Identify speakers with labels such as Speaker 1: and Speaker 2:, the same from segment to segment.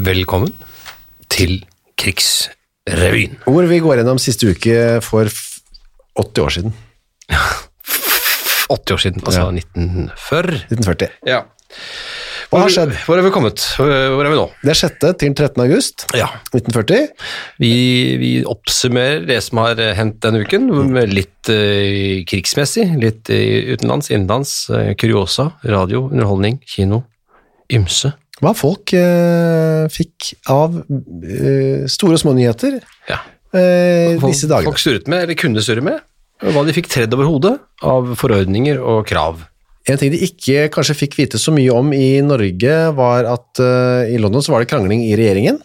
Speaker 1: Velkommen til Krigsrevyen.
Speaker 2: Hvor vi går gjennom siste uke for f- 80 år siden.
Speaker 1: 80 år siden, altså
Speaker 2: Ja.
Speaker 1: 1940.
Speaker 2: 1940.
Speaker 1: Ja.
Speaker 2: Hva har skjedd?
Speaker 1: Hvor er vi kommet? Hvor er vi nå?
Speaker 2: Det er 6. til 13. august
Speaker 1: Ja.
Speaker 2: 1940.
Speaker 1: Vi, vi oppsummerer det som har eh, hendt denne uken, med litt eh, krigsmessig, litt eh, utenlands, innenlands, eh, kuriosa, radio, underholdning, kino, ymse.
Speaker 2: Hva folk eh, fikk av eh, store og små nyheter
Speaker 1: Ja.
Speaker 2: eh,
Speaker 1: Folk-
Speaker 2: disse dagene.
Speaker 1: Folk surret med, eller kunne surre med, hva de fikk tredd over hodet av forordninger og krav.
Speaker 2: En ting de ikke kanskje fikk vite så mye om i Norge, var at eh, i London så var det krangling i regjeringen.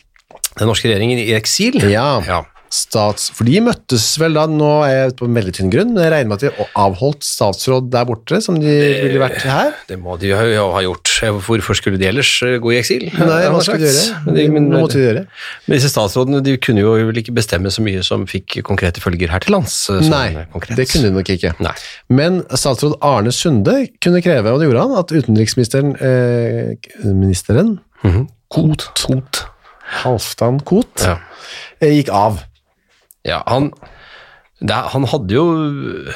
Speaker 1: Den norske regjeringen i eksil.
Speaker 2: Ja.
Speaker 1: ja.
Speaker 2: Stats, for de møttes vel da, nå er jeg ute på en veldig tynn grunn, men jeg regner med at de avholdt statsråd der borte, som de ville vært her.
Speaker 1: Det må de jo ha ha gjort. Hvorfor skulle de ellers eh, gå i eksil?
Speaker 2: Nei,
Speaker 1: Ja, har
Speaker 2: hva skal de
Speaker 1: sagt.
Speaker 2: gjøre?
Speaker 1: Men de- men-
Speaker 2: Noe måtte de gjøre.
Speaker 1: Men disse statsrådene de kunne jo vel ikke bestemme så mye som fikk konkrete følger her til lands. eh, sånn
Speaker 2: Nei,
Speaker 1: konkret.
Speaker 2: det kunne de nok ikke.
Speaker 1: Nei.
Speaker 2: Men statsråd Arne Sunde kunne kreve, og det gjorde han, at utenriksministeren, eh, ministeren,
Speaker 1: Mhm. Kot. Kot.
Speaker 2: Halvdan Koht,
Speaker 1: Ja.
Speaker 2: eh, gikk av.
Speaker 1: ja, han, det, er- han hadde jo eh,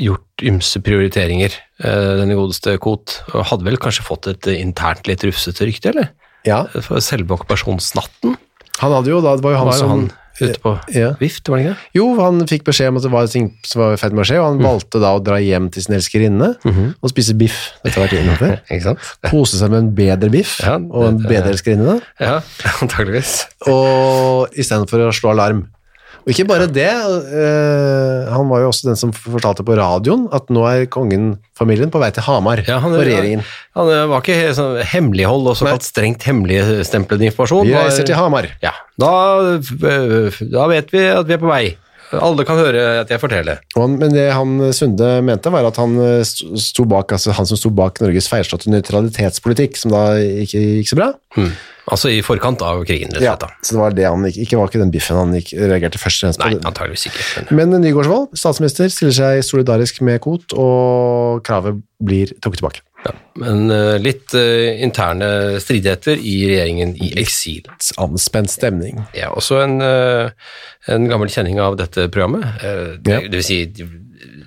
Speaker 1: gjort ymse prioriteringer, eh, denne godeste Kot, og hadde vel kanskje fått et eh, internt litt rufsete rykte, eller?
Speaker 2: Ja,
Speaker 1: For selve okkupasjonsnatten
Speaker 2: han hadde jo da, det var jo han
Speaker 1: var jo
Speaker 2: som...
Speaker 1: han ute på
Speaker 2: ja.
Speaker 1: vift, var det ikke det?
Speaker 2: Jo, han fikk beskjed om at det var ting som var i ferd med å skje, og han
Speaker 1: Mhm.
Speaker 2: valgte da å dra hjem til sin elskerinne og spise biff etter hvert innenfor.
Speaker 1: Ikke sant?
Speaker 2: Kose seg med en bedre biff
Speaker 1: Ja,
Speaker 2: og en
Speaker 1: det-
Speaker 2: bedre elskerinne da.
Speaker 1: Ja, antageligvis.
Speaker 2: og i stedet for å slå alarm. Og ikke bare det, eh, han var jo også den som fortalte på radioen at nå er kongen-familien på vei til Hamar
Speaker 1: Ja, han-
Speaker 2: og regjeringen.
Speaker 1: Han eh, var ikke he- sånn hemmelighold og såkalt strengt hemmeligstemplede informasjon.
Speaker 2: Vi
Speaker 1: Var-
Speaker 2: reiser til Hamar.
Speaker 1: Ja, da, eh, da vet vi at vi er på vei. Alle kan høre at jeg forteller.
Speaker 2: Og han, men det han eh, Sunde mente var at han, eh, sto sto bak, altså han som sto bak Norges feilslåtte nøytralitetspolitikk, som da ikke gikk så bra.
Speaker 1: Altså i forkant av krigen, rett og
Speaker 2: Ja,
Speaker 1: slett. da.
Speaker 2: så det var det han ikke, ikke var ikke den biffen han gikk, reagerte først og fremst på.
Speaker 1: Nei, antageligvis ikke. Men,
Speaker 2: Men Nygaardsvold, statsminister, stiller seg solidarisk med Koht, og kravet blir trukket tilbake.
Speaker 1: ja. men eh, litt eh, interne stridigheter i regjeringen i eksil.
Speaker 2: Anspent stemning.
Speaker 1: Ja, også en, eh, en gammel kjenning av dette programmet. eh, Det,
Speaker 2: Ja.
Speaker 1: det vil si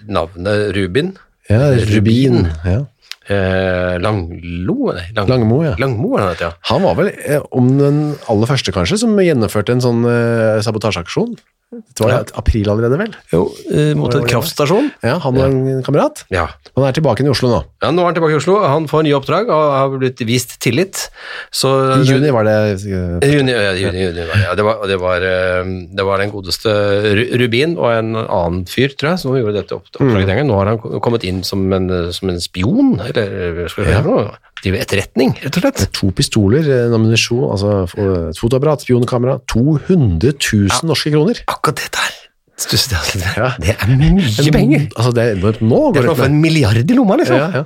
Speaker 1: navnet Rubin.
Speaker 2: Ja, Rubin.
Speaker 1: Rubin.
Speaker 2: Ja.
Speaker 1: Eh, Langlo? Nei, Lang,
Speaker 2: Langmo, ja.
Speaker 1: Langmo er det han heter, ja.
Speaker 2: Han var vel eh, om den aller første, kanskje, som gjennomførte en sånn eh, sabotasjeaksjon. Det var
Speaker 1: Ja.
Speaker 2: i april allerede, vel?
Speaker 1: Jo, eh, mot en kraftstasjon.
Speaker 2: Ja, han og en kamerat.
Speaker 1: Ja.
Speaker 2: Han er tilbake i Oslo nå.
Speaker 1: ja, nå er han tilbake i Oslo. Han får nye oppdrag og har blitt vist tillit. Så,
Speaker 2: I juni var det eh,
Speaker 1: I Juni, ja, i juni, juni var det. ja, det, var, og det, var, eh, det var den godeste Ru- Rubin og en annen fyr, tror jeg, som gjorde dette opp- oppdraget den gangen. Nå har han ko- kommet inn som en, eh, som en spion, eller hva skal vi høre nå? Driver etterretning, rett og slett.
Speaker 2: to pistoler, eh, en ammunisjon, altså f- et fotoapparat, spionkamera. 200 000 norske kroner.
Speaker 1: Akkurat det der stusset jeg litt ved.
Speaker 2: Ja.
Speaker 1: Det er mye penger!
Speaker 2: Altså, det er enormt nå.
Speaker 1: Det er som
Speaker 2: Går
Speaker 1: å få en milliard i lomma, liksom.
Speaker 2: ja, ja.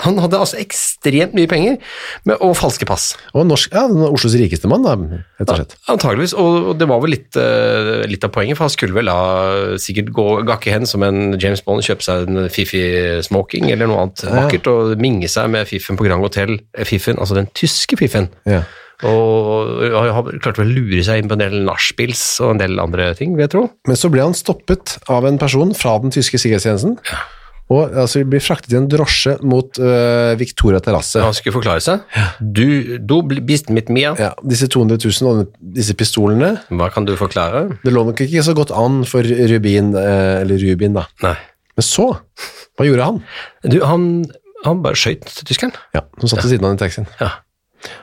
Speaker 1: Han hadde altså ekstremt mye penger med, og falske pass.
Speaker 2: Og norsk, ja, Oslos rikeste mann, da, rett og slett.
Speaker 1: Antageligvis, og og det var vel litt, eh, litt av poenget, for han skulle vel da sikkert gå, gakke hen som en James Bond, kjøpe seg en fiffig smoking eller noe annet vakkert, og minge seg med fiffen på Grand Hotel, eh, fiffen, altså den tyske fiffen.
Speaker 2: Ja.
Speaker 1: Og han har klart vel å lure seg inn på en del nachspiels og en del andre ting, vil jeg tro.
Speaker 2: Men så ble han stoppet av en person fra den tyske sikkerhetstjenesten, og altså, blir fraktet i en drosje mot øh, Victoria Terrasse.
Speaker 1: Han skulle forklare seg. Du, du bl- bist mit mir.
Speaker 2: Ja, disse 200 000 og disse pistolene,
Speaker 1: Hva kan du forklare?
Speaker 2: det lå nok ikke så godt an for Rubin, øh, eller Rubin da.
Speaker 1: Nei.
Speaker 2: Men så, hva gjorde han?
Speaker 1: Du, han, han bare skjøt tyskeren.
Speaker 2: Ja, som satt ved siden av den taxien.
Speaker 1: Ja.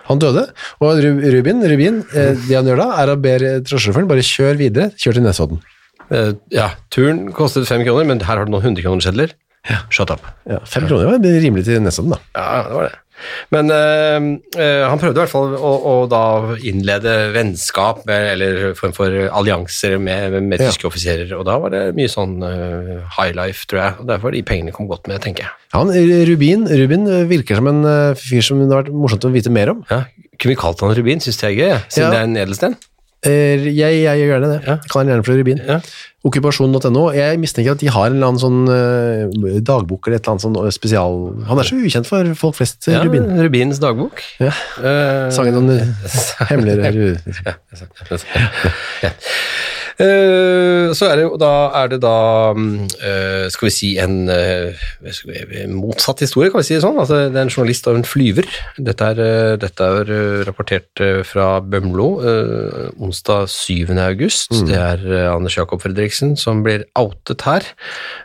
Speaker 2: Han døde, og Ru- Rubin, Rubin eh, det han gjør da, er å be drosjesjåføren bare kjør videre, kjør til Nesodden.
Speaker 1: Eh, ja, turen kostet fem kroner, men her har du noen hundrekronersedler. Ja. Shut up.
Speaker 2: Ja, fem kroner var rimelig til Nesodden da.
Speaker 1: Ja, det var det. Men eh, eh, han prøvde i hvert fall å, å da innlede vennskap med, eller form for allianser med, med, med
Speaker 2: Ja.
Speaker 1: tyske offiserer, og da var det mye sånn eh, high life, tror jeg. Og derfor de pengene kom godt med, tenker jeg.
Speaker 2: Han, Rubin, Rubin virker som en eh, fyr som det har vært morsomt å vite mer om.
Speaker 1: Ja. Kunne vi kalt han Rubin, syns jeg er gøy, ja. siden
Speaker 2: Ja.
Speaker 1: det er en edelsten.
Speaker 2: Eh, Jeg, jeg gjør gjerne det.
Speaker 1: Ja.
Speaker 2: Kall den gjerne for Rubin.
Speaker 1: Ja.
Speaker 2: Okkupasjon.no. Jeg mistenker at de har en eller annen sånn eh, dagbok eller et eller annet sånn eh, spesial... Han er så ukjent for folk flest, eh,
Speaker 1: Ja,
Speaker 2: Rubin.
Speaker 1: Rubins dagbok.
Speaker 2: Ja.
Speaker 1: Eh,
Speaker 2: Sangen om eh, hemmeligere
Speaker 1: Eh, Så er det jo da, er det da mm, eh, Skal vi si en eh, skal vi- en motsatt historie, kan vi si det sånn? Altså, det er en journalist og en flyver. Dette er, eh, dette er eh, rapportert eh, fra Bømlo eh, onsdag 7. august. Det er eh, Anders Jakob Fredriksen som blir outet her.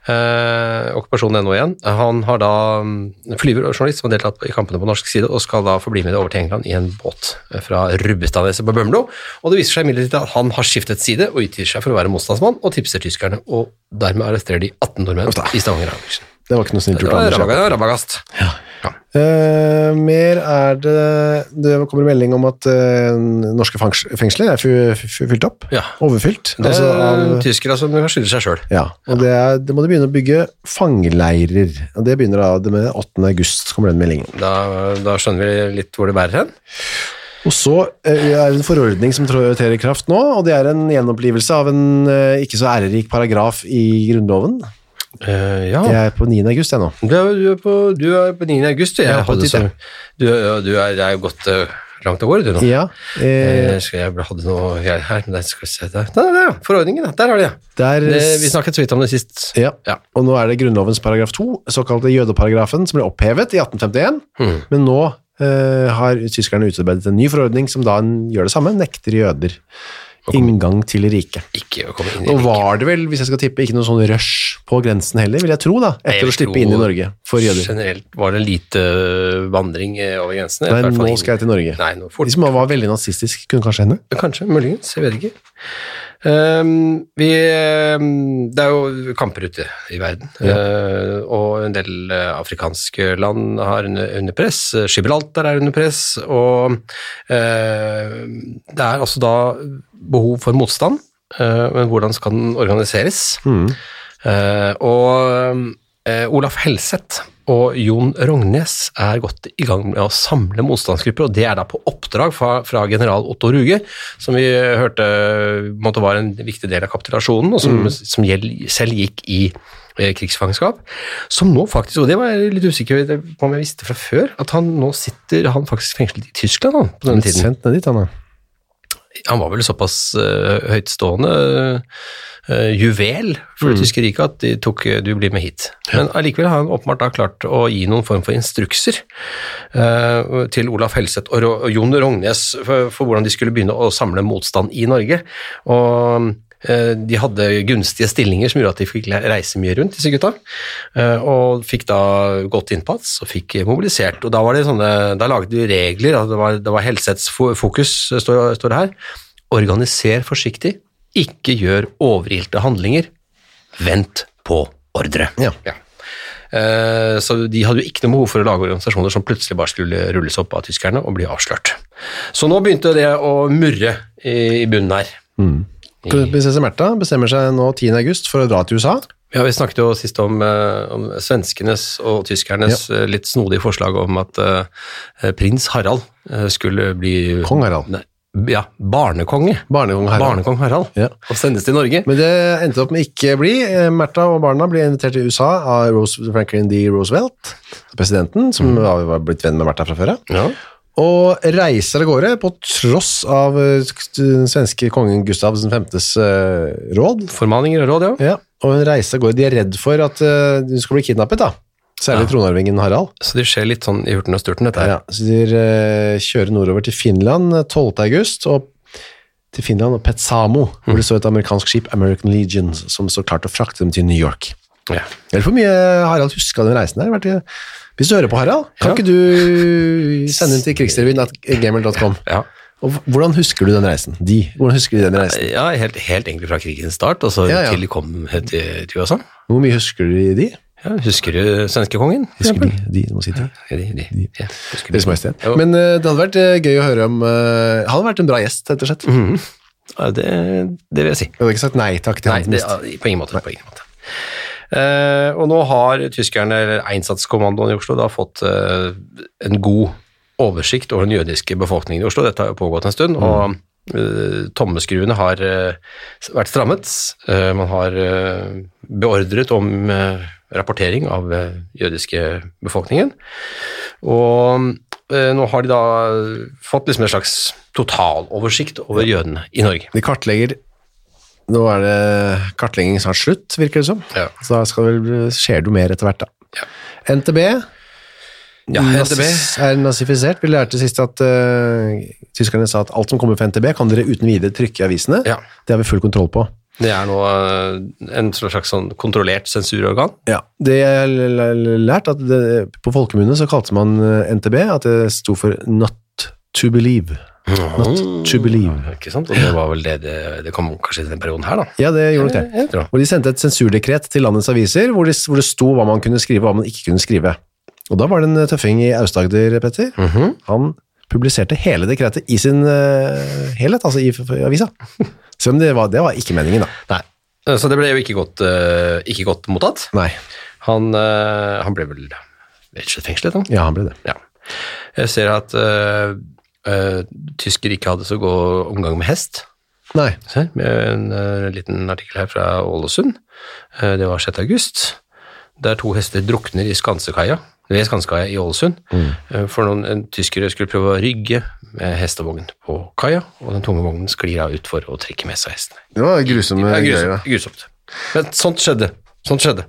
Speaker 1: Eh, Okkupasjon NO igjen. Han har da mm, flyver og journalist som har deltatt i kampene på norsk side, og skal da få bli med det over til England i en båt eh, fra Rubbestadneset på Bømlo. Og det viser seg imidlertid at han har skiftet side og utgir seg for å være motstandsmann, og tipser tyskerne, og dermed arresterer de 18 nordmenn i Stavanger Akersen.
Speaker 2: Det var ikke noe snilt
Speaker 1: Det
Speaker 2: gjort.
Speaker 1: var
Speaker 2: Anders.
Speaker 1: rabaga- rabagast.
Speaker 2: Eh, mer er det Det kommer melding om at eh, norske fangs- fengsler er fy- fy- fylt opp.
Speaker 1: Ja.
Speaker 2: Overfylt.
Speaker 1: Det
Speaker 2: altså
Speaker 1: er
Speaker 2: av-
Speaker 1: tyskere som skylder seg sjøl.
Speaker 2: Ja, og det, er, det må de begynne å bygge fangeleirer. Og det begynner da det med 8. august, kommer den meldingen.
Speaker 1: Da, da skjønner vi litt hvor det bærer hen.
Speaker 2: Og så eh, er det en forordning som trår trer i kraft nå, og det er en gjenopplivelse av en eh, ikke så ærerik paragraf i Grunnloven.
Speaker 1: Eh, ja.
Speaker 2: Jeg er på 9. august, jeg nå.
Speaker 1: Du er, du er, på, du er på 9. august, du. Jeg
Speaker 2: Ja, på
Speaker 1: hadde så,
Speaker 2: tittelen.
Speaker 1: du, er- du er, det er jo gått eh, langt av gårde, du nå.
Speaker 2: Ja, eh,
Speaker 1: Eh, skal jeg hadde noe greier her, men det skal vi se der. Der, der, ja, forordningen, ja. der har de det.
Speaker 2: der,
Speaker 1: det. Vi snakket så vidt om det sist.
Speaker 2: Eh, ja.
Speaker 1: Ja.
Speaker 2: Og nå er det Grunnlovens paragraf 2, såkalte jødeparagrafen, som ble opphevet i 1851,
Speaker 1: Mhm.
Speaker 2: men nå eh, har tyskerne utarbeidet en ny forordning som da gjør det samme, nekter jøder inngang til riket.
Speaker 1: Ikke å komme inn
Speaker 2: Nå
Speaker 1: i
Speaker 2: var det vel, hvis jeg skal tippe, ikke noe sånn rush på grensen heller, vil jeg tro da,
Speaker 1: Jeg
Speaker 2: etter å
Speaker 1: vil
Speaker 2: slippe
Speaker 1: tro-
Speaker 2: inn i Norge for jøder.
Speaker 1: Generelt var det lite vandring eh, over grensene. i
Speaker 2: Nei,
Speaker 1: hvert fall
Speaker 2: nå
Speaker 1: inn-
Speaker 2: skal jeg til Norge.
Speaker 1: Nei, nå
Speaker 2: De
Speaker 1: fort.
Speaker 2: som var veldig nazistisk, kunne kanskje hende.
Speaker 1: Eh, Kanskje, muligens, jeg vet ikke. Ehm, vi, ehm, det er jo kamper ute i verden, Eh, og en del eh, afrikanske land har under, under press. Eh, Gibraltar er under press, og eh, det er altså da behov for motstand, eh, men hvordan skal den organiseres? Eh, og eh, Olaf Helseth og Jon Rognes er godt i gang med å samle motstandsgrupper, og det er da på oppdrag fra, fra general Otto Ruge, som vi hørte på en måte var en viktig del av kapitulasjonen, og som, som gjel- selv gikk i eh, krigsfangenskap, som nå faktisk, og det var jeg litt usikker på om jeg visste fra før, at han nå sitter, han faktisk fengslet i Tyskland han, på denne
Speaker 2: Blitt
Speaker 1: tiden.
Speaker 2: sendt ned dit, han da.
Speaker 1: Han var vel såpass eh, høytstående eh, juvel for det tyske riket at de tok eh, 'du blir med hit'. Men allikevel har han åpenbart da klart å gi noen form for instrukser eh, til Olaf Helseth og, Ro- og Jon Rognes for, for hvordan de skulle begynne å samle motstand i Norge. Og eh, de hadde gunstige stillinger som gjorde at de fikk le- reise mye rundt, disse gutta. Eh, Og fikk da godt innpass og fikk mobilisert. Og da var det sånne, da laget de regler, altså det var, det var Helseths fo- fokus, eh, står, står det her. Organiser forsiktig, ikke gjør overilte handlinger. Vent på ordre.
Speaker 2: Ja.
Speaker 1: Eh, Så de hadde jo ikke noe behov for å lage organisasjoner som plutselig bare skulle rulles opp av tyskerne og bli avslørt. Så nå begynte det å murre i i bunnen her.
Speaker 2: Prinsesse Märtha bestemmer seg nå 10. august for å dra til USA.
Speaker 1: Ja, Vi snakket jo sist om, eh, om svenskenes og tyskernes eh, litt snodige forslag om at eh, prins Harald eh, skulle bli
Speaker 2: Kong Harald.
Speaker 1: Nei, ja, barnekonge.
Speaker 2: Barnekong Harald.
Speaker 1: Barnekong Harald.
Speaker 2: Ja.
Speaker 1: Og sendes til Norge.
Speaker 2: Men det endte opp med ikke å bli. Eh, Märtha og barna ble invitert til USA av Rose, Franklin D. Roosevelt, presidenten, som var var blitt venn med Märtha fra før. ja.
Speaker 1: Ja.
Speaker 2: Og reiser av gårde på tross av eh, den svenske kongen Gustav 5.s råd.
Speaker 1: Formaninger og råd, ja.
Speaker 2: Ja, og hun reiser av gårde. De er redd for at eh, hun skal bli kidnappet, da. Særlig tronarvingen Harald.
Speaker 1: Så det skjer litt sånn i hurten og sturten, dette her.
Speaker 2: Ja, så de eh, kjører nordover til Finland eh, 12. august, og til Finland og Petsamo, hvor
Speaker 1: Mm.
Speaker 2: det står et amerikansk skip, American Legion, som står klart til å frakte dem til New York.
Speaker 1: Ja.
Speaker 2: Eller hvor mye eh, Harald husker av den reisen der? Vært i- Hvis du hører på Harald, kan
Speaker 1: Ja.
Speaker 2: ikke du sende den til krigsrevyen.gmail.com?
Speaker 1: Ja.
Speaker 2: Og h- hvordan husker du den reisen? De, hvordan husker de den reisen?
Speaker 1: Ja, helt, helt egentlig fra krigens start, og så
Speaker 2: Ja, ja.
Speaker 1: eh, til de kom til, til USA.
Speaker 2: Hvor mye husker du i de?
Speaker 1: Ja, husker du svenskekongen? for
Speaker 2: Husker de,
Speaker 1: eksempel?
Speaker 2: de, de må si de.
Speaker 1: Ja, de, de,
Speaker 2: De.
Speaker 1: Ja, husker
Speaker 2: Deres
Speaker 1: de.
Speaker 2: Majestet.
Speaker 1: Jo.
Speaker 2: Men eh, det hadde vært eh, gøy å høre om eh, Han hadde vært en bra gjest, rett og slett. Jeg
Speaker 1: Mhm. Ja, det, det vil jeg si.
Speaker 2: hadde ikke sagt nei takk til
Speaker 1: Nei,
Speaker 2: hans
Speaker 1: det,
Speaker 2: gjest.
Speaker 1: på ingen måte. På ingen måte. Eh, og nå har tyskerne, eller Einsatzkommandoen i Oslo, da fått eh, en god oversikt over den jødiske befolkningen i Oslo. Dette har jo pågått en stund. og eh, tommeskruene har eh, vært strammet. Eh, man har eh, beordret om eh, rapportering av eh, jødiske befolkningen. Og eh, nå har de da fått liksom en slags totaloversikt over jødene i Norge.
Speaker 2: De kartlegger Nå er det kartlegging snart slutt, virker det som.
Speaker 1: Ja.
Speaker 2: Så da skal det vel, skjer det jo mer etter hvert, da.
Speaker 1: Ja.
Speaker 2: NTB,
Speaker 1: Ja,
Speaker 2: nazis-
Speaker 1: NTB.
Speaker 2: er nazifisert. Vi lærte sist at eh, tyskerne sa at alt som kommer fra NTB, kan dere uten videre trykke i avisene.
Speaker 1: Ja.
Speaker 2: Det har vi full kontroll på.
Speaker 1: Det er nå eh, en slags sånn kontrollert sensurorgan.
Speaker 2: Ja, det jeg l- l- lært at det, på folkemunne så kalte man eh, NTB at det sto for Not to Believe. Not to Believe.
Speaker 1: Ikke sant? Og det var vel det det, det kom kanskje i den perioden her, da.
Speaker 2: Ja, det gjorde nok det.
Speaker 1: Jeg tror.
Speaker 2: Hvor de sendte et sensurdekret til landets aviser, hvor det, hvor det sto hva man kunne skrive og hva man ikke kunne skrive. Og da var det en eh, tøffing i Aust-Agder, Petter.
Speaker 1: Mhm.
Speaker 2: Han publiserte hele dekretet i sin eh, helhet, altså i, f- f- avisa. Selv om det var, det var ikke meningen, da.
Speaker 1: Nei. Eh, Så det ble jo ikke godt, eh, ikke godt mottatt.
Speaker 2: Nei.
Speaker 1: Han, eh, han ble vel rett og slett fengslet, da.
Speaker 2: Ja, han ble det.
Speaker 1: Ja. Jeg ser at uh, tysker ikke hadde så god omgang med hest.
Speaker 2: Nei.
Speaker 1: Se, med en eh, liten artikkel her fra Ålesund. Eh, det var 6. august. Der to hester drukner i Skansekaia, ved Skansekaia i Ålesund. Eh, for noen en, tyskere skulle prøve å rygge med hestevogn på kaia, og den tunge vognen sklir av utfor og trekker med seg hestene.
Speaker 2: Det var grusomme
Speaker 1: Det er grusomt. grusomt. Men sånt skjedde. Sånt skjedde.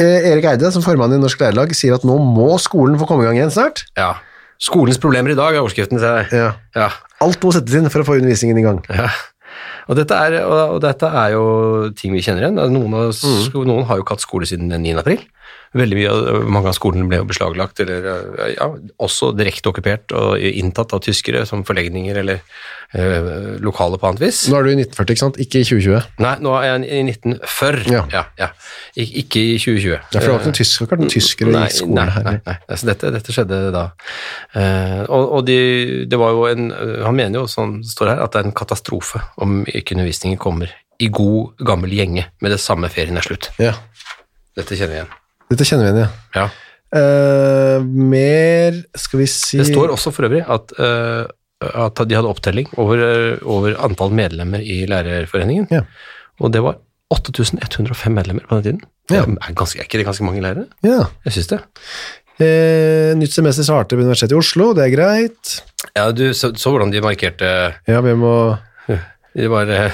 Speaker 2: Eh, Erik Eide, som formann i Norsk Lærerlag, sier at nå må skolen få komme i gang igjen snart.
Speaker 1: Ja. Skolens problemer i dag er overskriften til deg.
Speaker 2: Ja.
Speaker 1: Ja.
Speaker 2: Alt må settes inn for å få undervisningen i gang.
Speaker 1: Ja. Og dette, er, og og dette er jo ting vi kjenner igjen. Altså, Noen, av, oss- noen har jo ikke hatt skole siden den 9. april. Veldig mye, av- mange av skolene ble jo beslaglagt, eller eh, ja, også direkte okkupert og inntatt av tyskere som forlegninger eller eh, lokale på annet vis.
Speaker 2: Nå er du i 1940, ikke sant? Ikke i 2020.
Speaker 1: Nei, nå er jeg i 1940.
Speaker 2: Ja.
Speaker 1: Ja, ja. Ik ikke i 2020.
Speaker 2: Ja, for det var ikke noen tyskere, ikke noen tyskere i skolen
Speaker 1: nei,
Speaker 2: her.
Speaker 1: Nei, nei. Altså, dette, dette skjedde da. Eh, og og de, det var jo en, han mener jo, som det står her, at det er en katastrofe om ikke undervisningen kommer i god, gammel gjenge med det samme ferien er slutt.
Speaker 2: Ja.
Speaker 1: Dette kjenner vi igjen.
Speaker 2: Dette kjenner vi igjen, ja.
Speaker 1: Ja.
Speaker 2: Eh, mer skal vi si
Speaker 1: Det står også for øvrig at, eh, at de hadde opptelling over, eh, over antall medlemmer i lærerforeningen,
Speaker 2: Ja.
Speaker 1: og det var 8105 medlemmer på den tiden.
Speaker 2: Ja.
Speaker 1: Det er, ganske, er ikke det ganske mange lærere?
Speaker 2: Ja.
Speaker 1: Jeg syns det.
Speaker 2: Eh, nytt semester starter ved Universitetet i Oslo, det er greit.
Speaker 1: Ja, du så, så hvordan de markerte
Speaker 2: Ja, vi må
Speaker 1: de bare,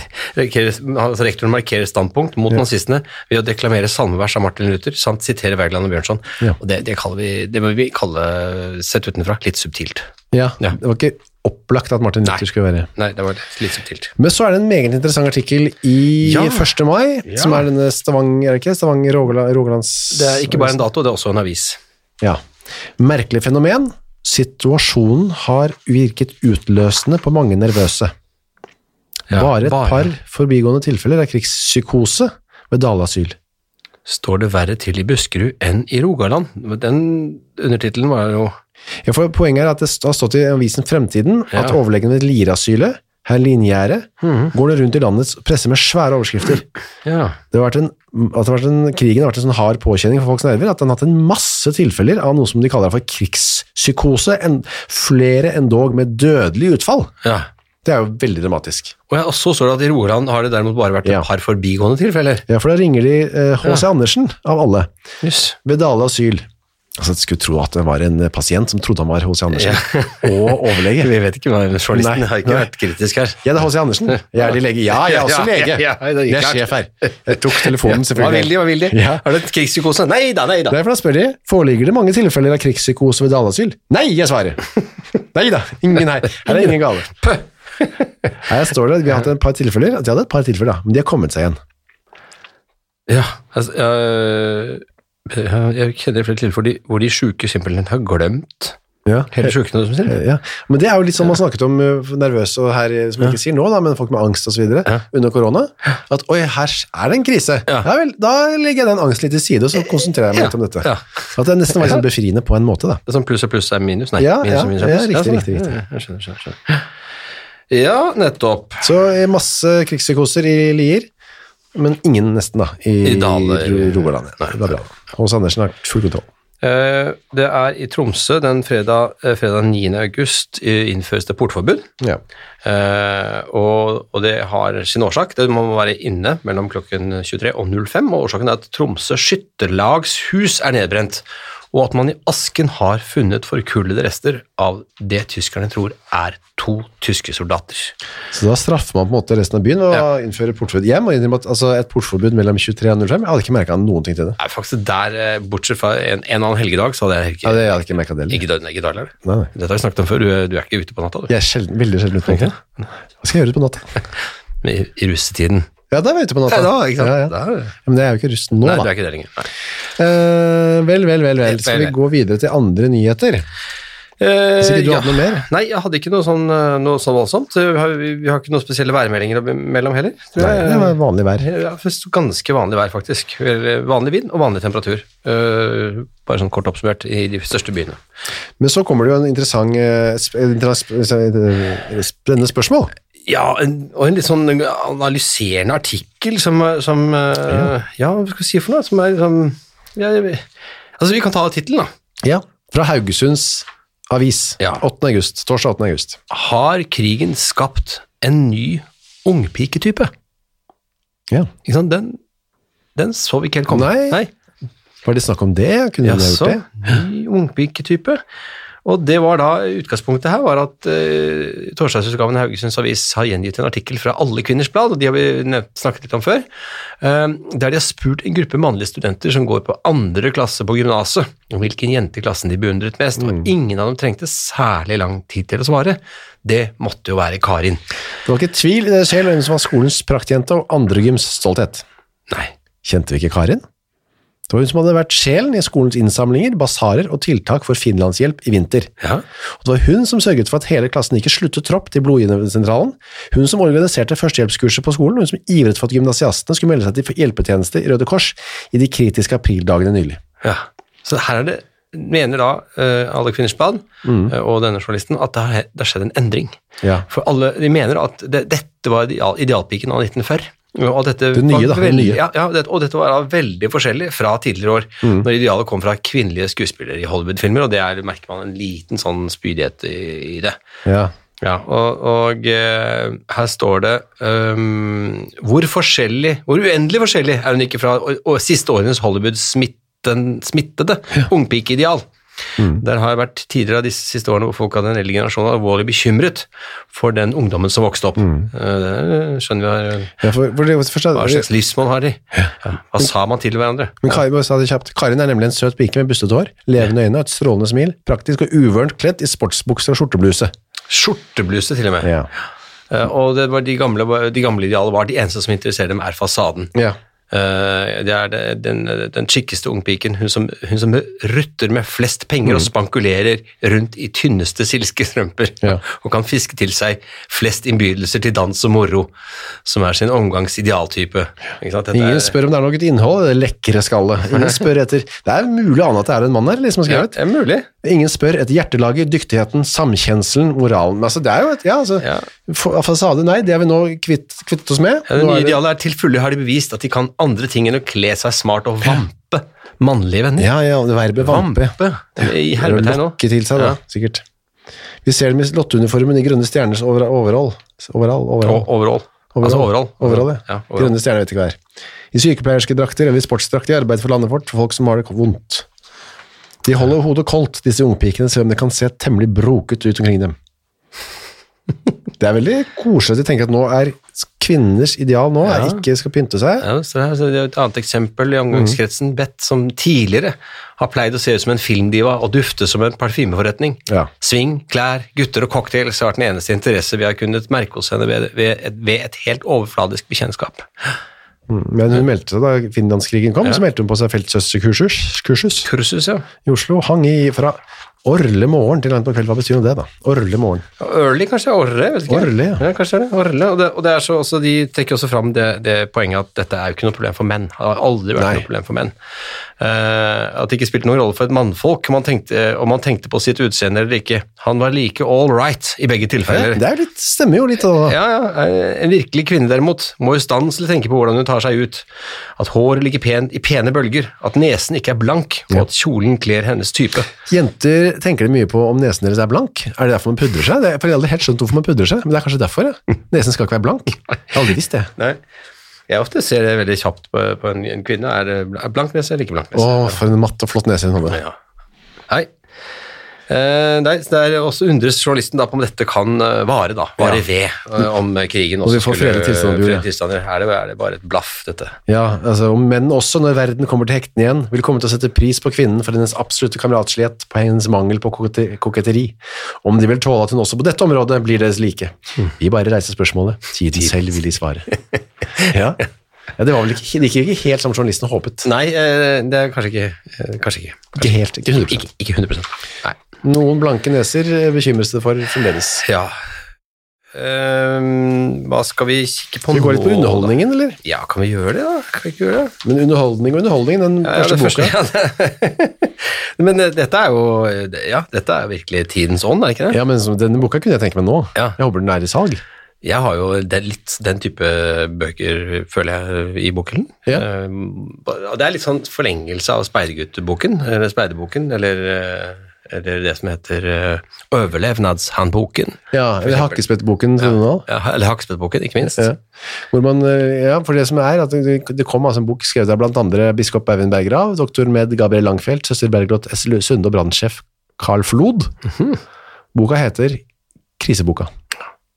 Speaker 1: markerer- altså Rektoren markerer standpunkt mot nazistene ved å deklamere salmevers av Martin Luther samt sitere Wergeland og Bjørnson.
Speaker 2: Ja.
Speaker 1: Og det, det, kaller vi, det må vi kalle, sett utenfra, litt subtilt.
Speaker 2: ja,
Speaker 1: Ja.
Speaker 2: det var ikke opplagt at Martin Luther skulle være
Speaker 1: Nei, det var litt subtilt.
Speaker 2: Men så er det en meget interessant artikkel i
Speaker 1: Ja.
Speaker 2: 1. mai,
Speaker 1: Ja.
Speaker 2: som er denne Stavanger, er det ikke? Stavanger Rogaland, Rogalands
Speaker 1: Det er ikke bare en dato, det er også en avis.
Speaker 2: Ja. Merkelig fenomen. Situasjonen har virket utløsende på mange nervøse.
Speaker 1: Ja,
Speaker 2: bare et par forbigående tilfeller er krigspsykose ved Dalasyl.
Speaker 1: Står det verre til i Buskerud enn i Rogaland? Men Den undertittelen var jo
Speaker 2: Ja, for poenget er at det st- har stått i avisen Fremtiden at
Speaker 1: Ja. Mhm.
Speaker 2: overlegen ved Lirasylet, herr Linjære, går det rundt i landets presse med svære overskrifter.
Speaker 1: Ja.
Speaker 2: Det har vært en, at det har vært en, krigen har vært en sånn hard påkjenning for folks nerver, at den har hatt en masse tilfeller av noe som de kaller for krigspsykose, en, flere endog med dødelig utfall.
Speaker 1: ja.
Speaker 2: Det er jo veldig dramatisk.
Speaker 1: Og, ja, og så står det at i Rogaland har det derimot bare vært
Speaker 2: Ja.
Speaker 1: et par forbigående tilfeller.
Speaker 2: Ja, for da ringer de eh, H.C. Andersen, av alle,
Speaker 1: Jøss.
Speaker 2: ved Dale asyl. Altså, jeg skulle tro at det var en eh, pasient som trodde han var H.C. Andersen, og overlege.
Speaker 1: Vi vet ikke, men journalisten
Speaker 2: Nei,
Speaker 1: har ikke
Speaker 2: nei.
Speaker 1: vært kritisk her.
Speaker 2: Jeg er H.C. Andersen. Jeg er de lege. Ja, jeg er også
Speaker 1: Ja,
Speaker 2: lege.
Speaker 1: ja, ja, det er
Speaker 2: jeg er
Speaker 1: klart.
Speaker 2: sjef her. Jeg tok telefonen,
Speaker 1: Hva vil de,
Speaker 2: selvfølgelig.
Speaker 1: hva vil de?
Speaker 2: Ja.
Speaker 1: Har du et krigspsykose? Nei da, nei da.
Speaker 2: Derfor da spør de, foreligger det mange tilfeller av krigspsykose ved dalasyl? Nei, jeg svarer. Nei da, ingen her. Her er ingen gale. Her står det at vi har hatt et par tilfeller, de hadde et par tilfeller da, men de har kommet seg igjen.
Speaker 1: Ja, eh, altså, øh, jeg kjenner flere tilfeller hvor de, hvor de sjuke simpelthen har glemt
Speaker 2: Ja.
Speaker 1: Hele sjukene, som sier.
Speaker 2: Ja. Men det er jo litt sånn man snakket om eh, nervøse og her, eh, som jeg ikke sier nå, da, men folk med angst osv. videre
Speaker 1: Ja.
Speaker 2: under korona. At oi, her er det en krise. Ja.
Speaker 1: Ja.
Speaker 2: vel, da legger jeg den angsten litt til side, og så konsentrerer jeg meg
Speaker 1: Ja,
Speaker 2: litt om dette.
Speaker 1: ja.
Speaker 2: At det nesten var litt sånn befriende på en måte, da.
Speaker 1: Det er sånn pluss og pluss er minus, nei.
Speaker 2: Ja,
Speaker 1: minus
Speaker 2: ja,
Speaker 1: og minus
Speaker 2: ja,
Speaker 1: pluss.
Speaker 2: riktig,
Speaker 1: sånn,
Speaker 2: riktig,
Speaker 1: ja,
Speaker 2: riktig.
Speaker 1: ja, Jeg skjønner, skjønner, skjønner. Ja, nettopp.
Speaker 2: Så eh, masse krigspsykoser i Lier, men ingen nesten, da, i,
Speaker 1: I Daler.
Speaker 2: Ro- Rogaland. Ja. Det er bra. Hans Andersen har full kontroll.
Speaker 1: Eh, Det er i Tromsø den fredag, eh, fredag 9. august eh, innføres det portforbud.
Speaker 2: Ja.
Speaker 1: Eh, og, og det har sin årsak. Det må være inne mellom klokken 23 og 05. Og årsaken er at Tromsø skytterlags hus er nedbrent. Og at man i asken har funnet forkullede rester av det tyskerne tror er to tyske soldater.
Speaker 2: Så da straffer man på en måte resten av byen ved å innføre portforbud. Jeg må innrømme at altså, et portforbud mellom 23 og 05, jeg hadde ikke merka noen ting til det.
Speaker 1: Det er faktisk der, eh, bortsett fra en, en annen helgedag, så hadde jeg ikke,
Speaker 2: Ja, det jeg hadde ikke merket det heller.
Speaker 1: ikke dødd ikke dødd, eller?
Speaker 2: Nei, nei.
Speaker 1: Dette har vi snakket om før, du, du er ikke ute på natta, du.
Speaker 2: Jeg er sjelden, veldig sjelden ute på natta. Hva skal jeg gjøre ute på natta?
Speaker 1: Men I, i russetiden.
Speaker 2: Ja, da er vi ute på natta. Ja, ja.
Speaker 1: Der-
Speaker 2: Ja, Men jeg er jo ikke rusten nå,
Speaker 1: Nei, du
Speaker 2: da.
Speaker 1: er ikke det lenger. Nei.
Speaker 2: Eh, vel, vel, vel, vel. Skal vi
Speaker 1: vel.
Speaker 2: gå videre til andre nyheter?
Speaker 1: Eh,
Speaker 2: Hvis ikke du hadde noe mer?
Speaker 1: Nei, jeg hadde ikke noe sånn, eh, noe sånn voldsomt. Vi har, vi vi har ikke noen spesielle værmeldinger om- mellom heller. tror
Speaker 2: Nei,
Speaker 1: jeg.
Speaker 2: det var vanlig vær.
Speaker 1: Ja, først ganske vanlig vær, faktisk. Eller eh, Vanlig vind og vanlig temperatur. Eh, bare sånn kort oppsummert i de største byene.
Speaker 2: Men så kommer det jo en interessant, eh, sp en interess- eh, spennende spørsmål.
Speaker 1: Ja, en, og en litt sånn analyserende artikkel som, eh, som eh, Ja, hva skal vi si for noe? Som er liksom ja, jeg- Altså, vi kan ta tittelen, da.
Speaker 2: Ja. Fra Haugesunds avis.
Speaker 1: Ja.
Speaker 2: 8. august. Torsdag 8. august.
Speaker 1: Har krigen skapt en ny ungpiketype?
Speaker 2: Ja.
Speaker 1: Ikke sant? Den, den så vi ikke helt komme.
Speaker 2: Nei.
Speaker 1: Nei.
Speaker 2: Var det snakk om det? Kunne hun ha gjort
Speaker 1: Jaså,
Speaker 2: det?
Speaker 1: ny ungpiketype. Og det var da utgangspunktet her, var at eh, torsdagsutgaven i Haugesunds Avis har gjengitt en artikkel fra Alle Kvinners Blad, og de har vi nevnt, snakket litt om før, eh, der de har spurt en gruppe mannlige studenter som går på andre klasse på gymnaset, om hvilken jente i klassen de beundret mest, og ingen av dem trengte særlig lang tid til å svare. Det måtte jo være Karin.
Speaker 2: Det var ikke tvil i deres sjel om hvem som var skolens praktjente og andre gyms stolthet.
Speaker 1: Nei,
Speaker 2: Kjente vi ikke Karin? Det var hun som hadde vært sjelen i skolens innsamlinger, basarer og tiltak for finlandshjelp i vinter.
Speaker 1: ja,
Speaker 2: Og det var hun som sørget for at hele klassen ikke sluttet tropp til blodgiversentralen, hun som organiserte førstehjelpskurset på skolen, hun som ivret for at gymnasiastene skulle melde seg til hjelpetjeneste i Røde Kors i de kritiske aprildagene nylig.
Speaker 1: Ja. Så her er det, mener da eh, alle kvinners bad eh, og denne journalisten at det har, he- det har skjedd en endring.
Speaker 2: Ja.
Speaker 1: For alle, de mener at det, dette var ideal, idealpiken av 1940. Og at dette
Speaker 2: Det nye, da,
Speaker 1: var
Speaker 2: det
Speaker 1: veldig,
Speaker 2: nye.
Speaker 1: Ja, ja, det, og dette var da veldig forskjellig fra tidligere år,
Speaker 2: Mm.
Speaker 1: når idealet kom fra kvinnelige skuespillere i Hollywood-filmer, og det er, merker man en liten sånn spydighet i, i det.
Speaker 2: Ja.
Speaker 1: Ja, og, og eh, her står det ehm, hvor forskjellig, hvor uendelig forskjellig er hun ikke fra å- å- siste årenes Hollywood-smittede smittede ungpikeideal.
Speaker 2: Mm.
Speaker 1: Der har jeg vært tidligere av disse siste årene hvor folk av den eldre generasjonen er alvorlig bekymret for den ungdommen som vokste opp. Eh, det skjønner vi her. eh,
Speaker 2: Mm. ja for, for det, først,
Speaker 1: Hva slags livsmål har de? Ja, hva sa man til hverandre?
Speaker 2: men Karin, bare sa det kjapt. Karin er nemlig en søt pike med bustete hår, levende øyne og et strålende smil, praktisk og uvørent kledd i sportsbukser og skjortebluse.
Speaker 1: Skjortebluse, til og med.
Speaker 2: Ja.
Speaker 1: Eh, og det var de gamle, de gamle idealene var de eneste som interesserer dem, er fasaden.
Speaker 2: Ja.
Speaker 1: Eh, det er det- den, den kjekkeste ungpiken, hun som, hun som rutter med flest penger og spankulerer rundt i tynneste silkestrømper,
Speaker 2: Ja.
Speaker 1: og kan fiske til seg flest innbydelser til dans og moro, som er sin omgangs idealtype. Ikke sant? Dette
Speaker 2: Ingen
Speaker 1: er-
Speaker 2: spør om det er noe innhold i det lekre skallet. Ingen spør etter Det er mulig å ane at det er en mann her, liksom
Speaker 1: ja,
Speaker 2: har skrevet.
Speaker 1: det er mulig.
Speaker 2: Ingen spør etter hjertelaget, dyktigheten, samkjenselen, moralen. Altså, det er jo et, ja, altså,
Speaker 1: Ja.
Speaker 2: fa- Fasade, nei, det er vi nå kvitt, kvittet oss med.
Speaker 1: Ja, det
Speaker 2: Nå
Speaker 1: nye
Speaker 2: er det-
Speaker 1: idealet er til fulle har de bevist at de kan andre ting enn å kle seg smart og vampe mannlige venner.
Speaker 2: ja, ja, det verbet vampe.
Speaker 1: I
Speaker 2: Det er å
Speaker 1: hermetegn òg.
Speaker 2: Lokke til seg, da,
Speaker 1: Ja.
Speaker 2: sikkert. Vi ser dem i lotteuniformen i grønne stjernes over, overall. Overall, overall.
Speaker 1: Overall. Altså overall.
Speaker 2: Overall, ja.
Speaker 1: Ja, overall.
Speaker 2: Grønne stjerner vet ikke hva er. I sykepleierske drakter eller i sportsdrakter i arbeid for landet vårt, for folk som har det vondt. De holder hodet koldt, disse ungpikene, selv om det kan se temmelig broket ut omkring dem. Det er veldig koselig at de tenker at nå er kvinners ideal nå, er ikke skal pynte seg.
Speaker 1: Ja, så det, er, så det er et annet eksempel i omgangskretsen.
Speaker 2: Mhm.
Speaker 1: Bett, som tidligere har pleid å se ut som en filmdiva og dufte som en parfymeforretning.
Speaker 2: Ja.
Speaker 1: Sving, klær, gutter og cocktails har vært den eneste interesse vi har kunnet merke hos henne ved, ved, et, ved et helt overfladisk bekjentskap.
Speaker 2: Men hun meldte seg da Finlandskrigen kom, så meldte hun på seg feltsøsterkursus kursus
Speaker 1: Kursus, ja.
Speaker 2: i Oslo, hang i fra Orle morgen til langt på kveld, hva betyr nå det, da? Orle morgen.
Speaker 1: Ørli, kanskje? Orre? vet ikke.
Speaker 2: Orle, ja.
Speaker 1: ja. kanskje det. Orle. Og, det, og det er så, også, De trekker også fram det, det poenget at dette er jo ikke noe problem for menn. Det har aldri vært
Speaker 2: Nei.
Speaker 1: noe problem for menn. Eh, at det ikke spilte noen rolle for et mannfolk om man tenkte, om man tenkte på sitt utseende eller ikke. Han var like all right i begge tilfeller.
Speaker 2: Det er jo litt, stemmer jo litt av det. da.
Speaker 1: Ja, ja. En virkelig kvinne derimot må i stand til å tenke på hvordan hun tar seg ut. At håret ligger pent i pene bølger, at nesen ikke er blank, og at kjolen kler hennes type.
Speaker 2: Jenter tenker de mye på om nesen deres er blank. Er det derfor man pudrer seg? Det er, for jeg har aldri helt skjønt hvorfor man pudrer seg, men det er kanskje derfor, ja. Nesen skal ikke være blank. Jeg har aldri visst det.
Speaker 1: Nei. Jeg ofte ser det veldig kjapt på, på en, en kvinne. Er det bl- er blank nese eller ikke blank nese?
Speaker 2: Å, for en matt og flott nese hun hadde.
Speaker 1: Ja. Nei. Eh, nei, så det er også undres journalisten da på om dette kan eh, vare, da. Vare ved. eh, om krigen
Speaker 2: vi
Speaker 1: også
Speaker 2: får fredelige tilstander, Bjørn.
Speaker 1: fredelige tilstander. Er det, er det bare et blaff, dette?
Speaker 2: Ja, altså, og menn også, når verden kommer til hektene igjen, vil komme til å sette pris på kvinnen for hennes absolutte kameratslighet, på hennes mangel på koket- koketteri. Om de vil tåle at hun også på dette området blir deres like. Vi bare reiser spørsmålet. Tiden selv vil de svare. Ja, ja det var vel ikke, det gikk jo ikke helt som journalisten håpet.
Speaker 1: Nei, eh, det er kanskje ikke. eh, Kanskje ikke.
Speaker 2: Ikke helt, ikke 100%.
Speaker 1: Ikke, ikke 100 Nei.
Speaker 2: Noen blanke neser bekymres det for fremdeles.
Speaker 1: Ja. Ehm, hva skal vi kikke på
Speaker 2: Vi går litt på
Speaker 1: nå,
Speaker 2: underholdningen, eller?
Speaker 1: da? Ja, kan vi gjøre det, da? Kan vi ikke gjøre det?
Speaker 2: Men underholdning og underholdning, den
Speaker 1: Ja,
Speaker 2: første
Speaker 1: det
Speaker 2: boka.
Speaker 1: første- ja. Men eh, dette er jo eh, det- Ja, dette er virkelig tidens ånd, er det ikke det?
Speaker 2: Ja, men som- denne boka kunne jeg tenke meg nå.
Speaker 1: Ja.
Speaker 2: Jeg håper den er i salg.
Speaker 1: Jeg har jo den, litt den type bøker, føler jeg, i boken.
Speaker 2: Ja.
Speaker 1: Ehm, bare- og det er litt sånn forlengelse av Speidergutt-boken, eller Speiderboken, eller, eh, eller det som heter eh, Overlevnadshåndboken.
Speaker 2: Ja, eller Hakkespettboken, tror du nå?
Speaker 1: Ja, eller Hakkespettboken, ikke minst.
Speaker 2: Ja. Hvor man, eh, ja, for det som er, at det det kom altså en bok skrevet av blant andre biskop Eivind Bergrav, doktor med Gabriel Langfeldt, søster Bergljot S. Lu- Sunde og brannsjef Carl Flod.
Speaker 1: Mhm.
Speaker 2: Boka heter Kriseboka.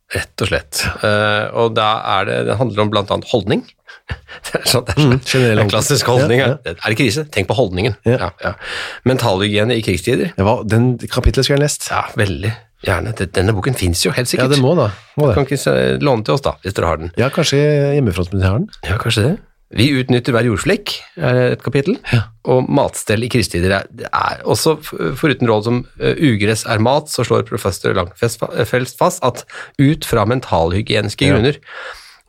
Speaker 1: Rett og slett. Eh, og da er det, det handler om bl.a. holdning. Det er sånn, det er sånn.
Speaker 2: Mm, generell
Speaker 1: det er klassisk holdning.
Speaker 2: Ja,
Speaker 1: Ja, Er det krise? Tenk på holdningen.
Speaker 2: Ja.
Speaker 1: Ja, ja. Mentalhygiene i krigstider.
Speaker 2: Det var, den kapitlet skulle jeg lest.
Speaker 1: Ja, veldig gjerne. Det- Denne boken fins jo, helt
Speaker 2: Ja,
Speaker 1: sikkert.
Speaker 2: det må da. Må
Speaker 1: Kan
Speaker 2: det.
Speaker 1: ikke se- låne til oss, da, hvis dere har den.
Speaker 2: Ja, kanskje hjemmefrontministeren har den?
Speaker 1: Ja, kanskje det. Vi utnytter hver jordflekk, er et kapittel. Og matstell i krigstider er, det er også f- foruten råd som eh, ugress er mat, så slår professor Langfest fa- eh, Fels fast at ut fra mentalhygieniske grunner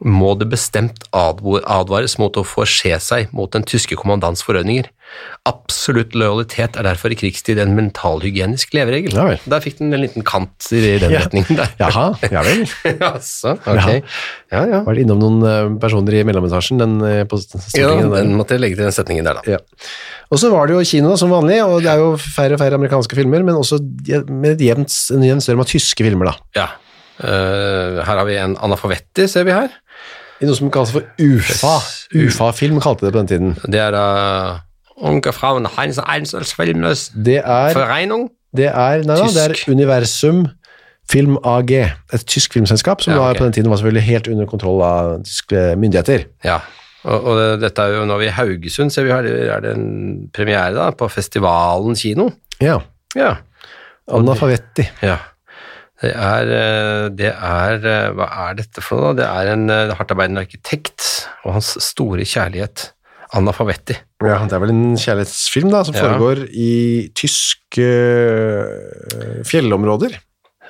Speaker 1: må det bestemt advo- advares mot å forse seg mot den tyske kommandants forordninger. Absolutt lojalitet er derfor i krigstid en mentalhygienisk leveregel.
Speaker 2: Ja vel.
Speaker 1: Der fikk den en liten kant i den
Speaker 2: Ja.
Speaker 1: retningen der.
Speaker 2: Jaha, ja vel.
Speaker 1: altså, ok. Ja, ja.
Speaker 2: Vært innom noen eh, personer i mellometasjen den, eh, på
Speaker 1: Ja,
Speaker 2: st- Stortinget. den der.
Speaker 1: den måtte jeg legge til den setningen der, da.
Speaker 2: Ja. Og så var det jo kino da, som vanlig, og det er jo færre og færre amerikanske filmer, men også je- med et jevnt, en jevn strøm av tyske filmer da.
Speaker 1: Ja. Eh, her har vi en analfabetter, ser vi her.
Speaker 2: I noe som kalles for UFA. UFA-film kalte det på den tiden.
Speaker 1: Det er da Unge Frauen Heinz Einzelfilmes
Speaker 2: Det er,
Speaker 1: Vereinigung.
Speaker 2: det er, nei, da, det
Speaker 1: Tysk.
Speaker 2: er Universum Film AG, et tysk filmselskap som
Speaker 1: Ja,
Speaker 2: da
Speaker 1: ok.
Speaker 2: på den tiden var selvfølgelig helt under kontroll av tyske myndigheter.
Speaker 1: Ja. Og, og det, dette er jo nå vi i Haugesund, ser vi her. Der er det en premiere da, på Festivalen kino.
Speaker 2: Ja,
Speaker 1: Ja.
Speaker 2: Anna Favetti.
Speaker 1: ja. Det er, eh, det er eh, Hva er dette for noe, da? Det er en eh, hardtarbeidende arkitekt og hans store kjærlighet, Anna Favetti.
Speaker 2: Ja, det er vel en kjærlighetsfilm da, som
Speaker 1: Ja.
Speaker 2: foregår i tyske øh, fjellområder.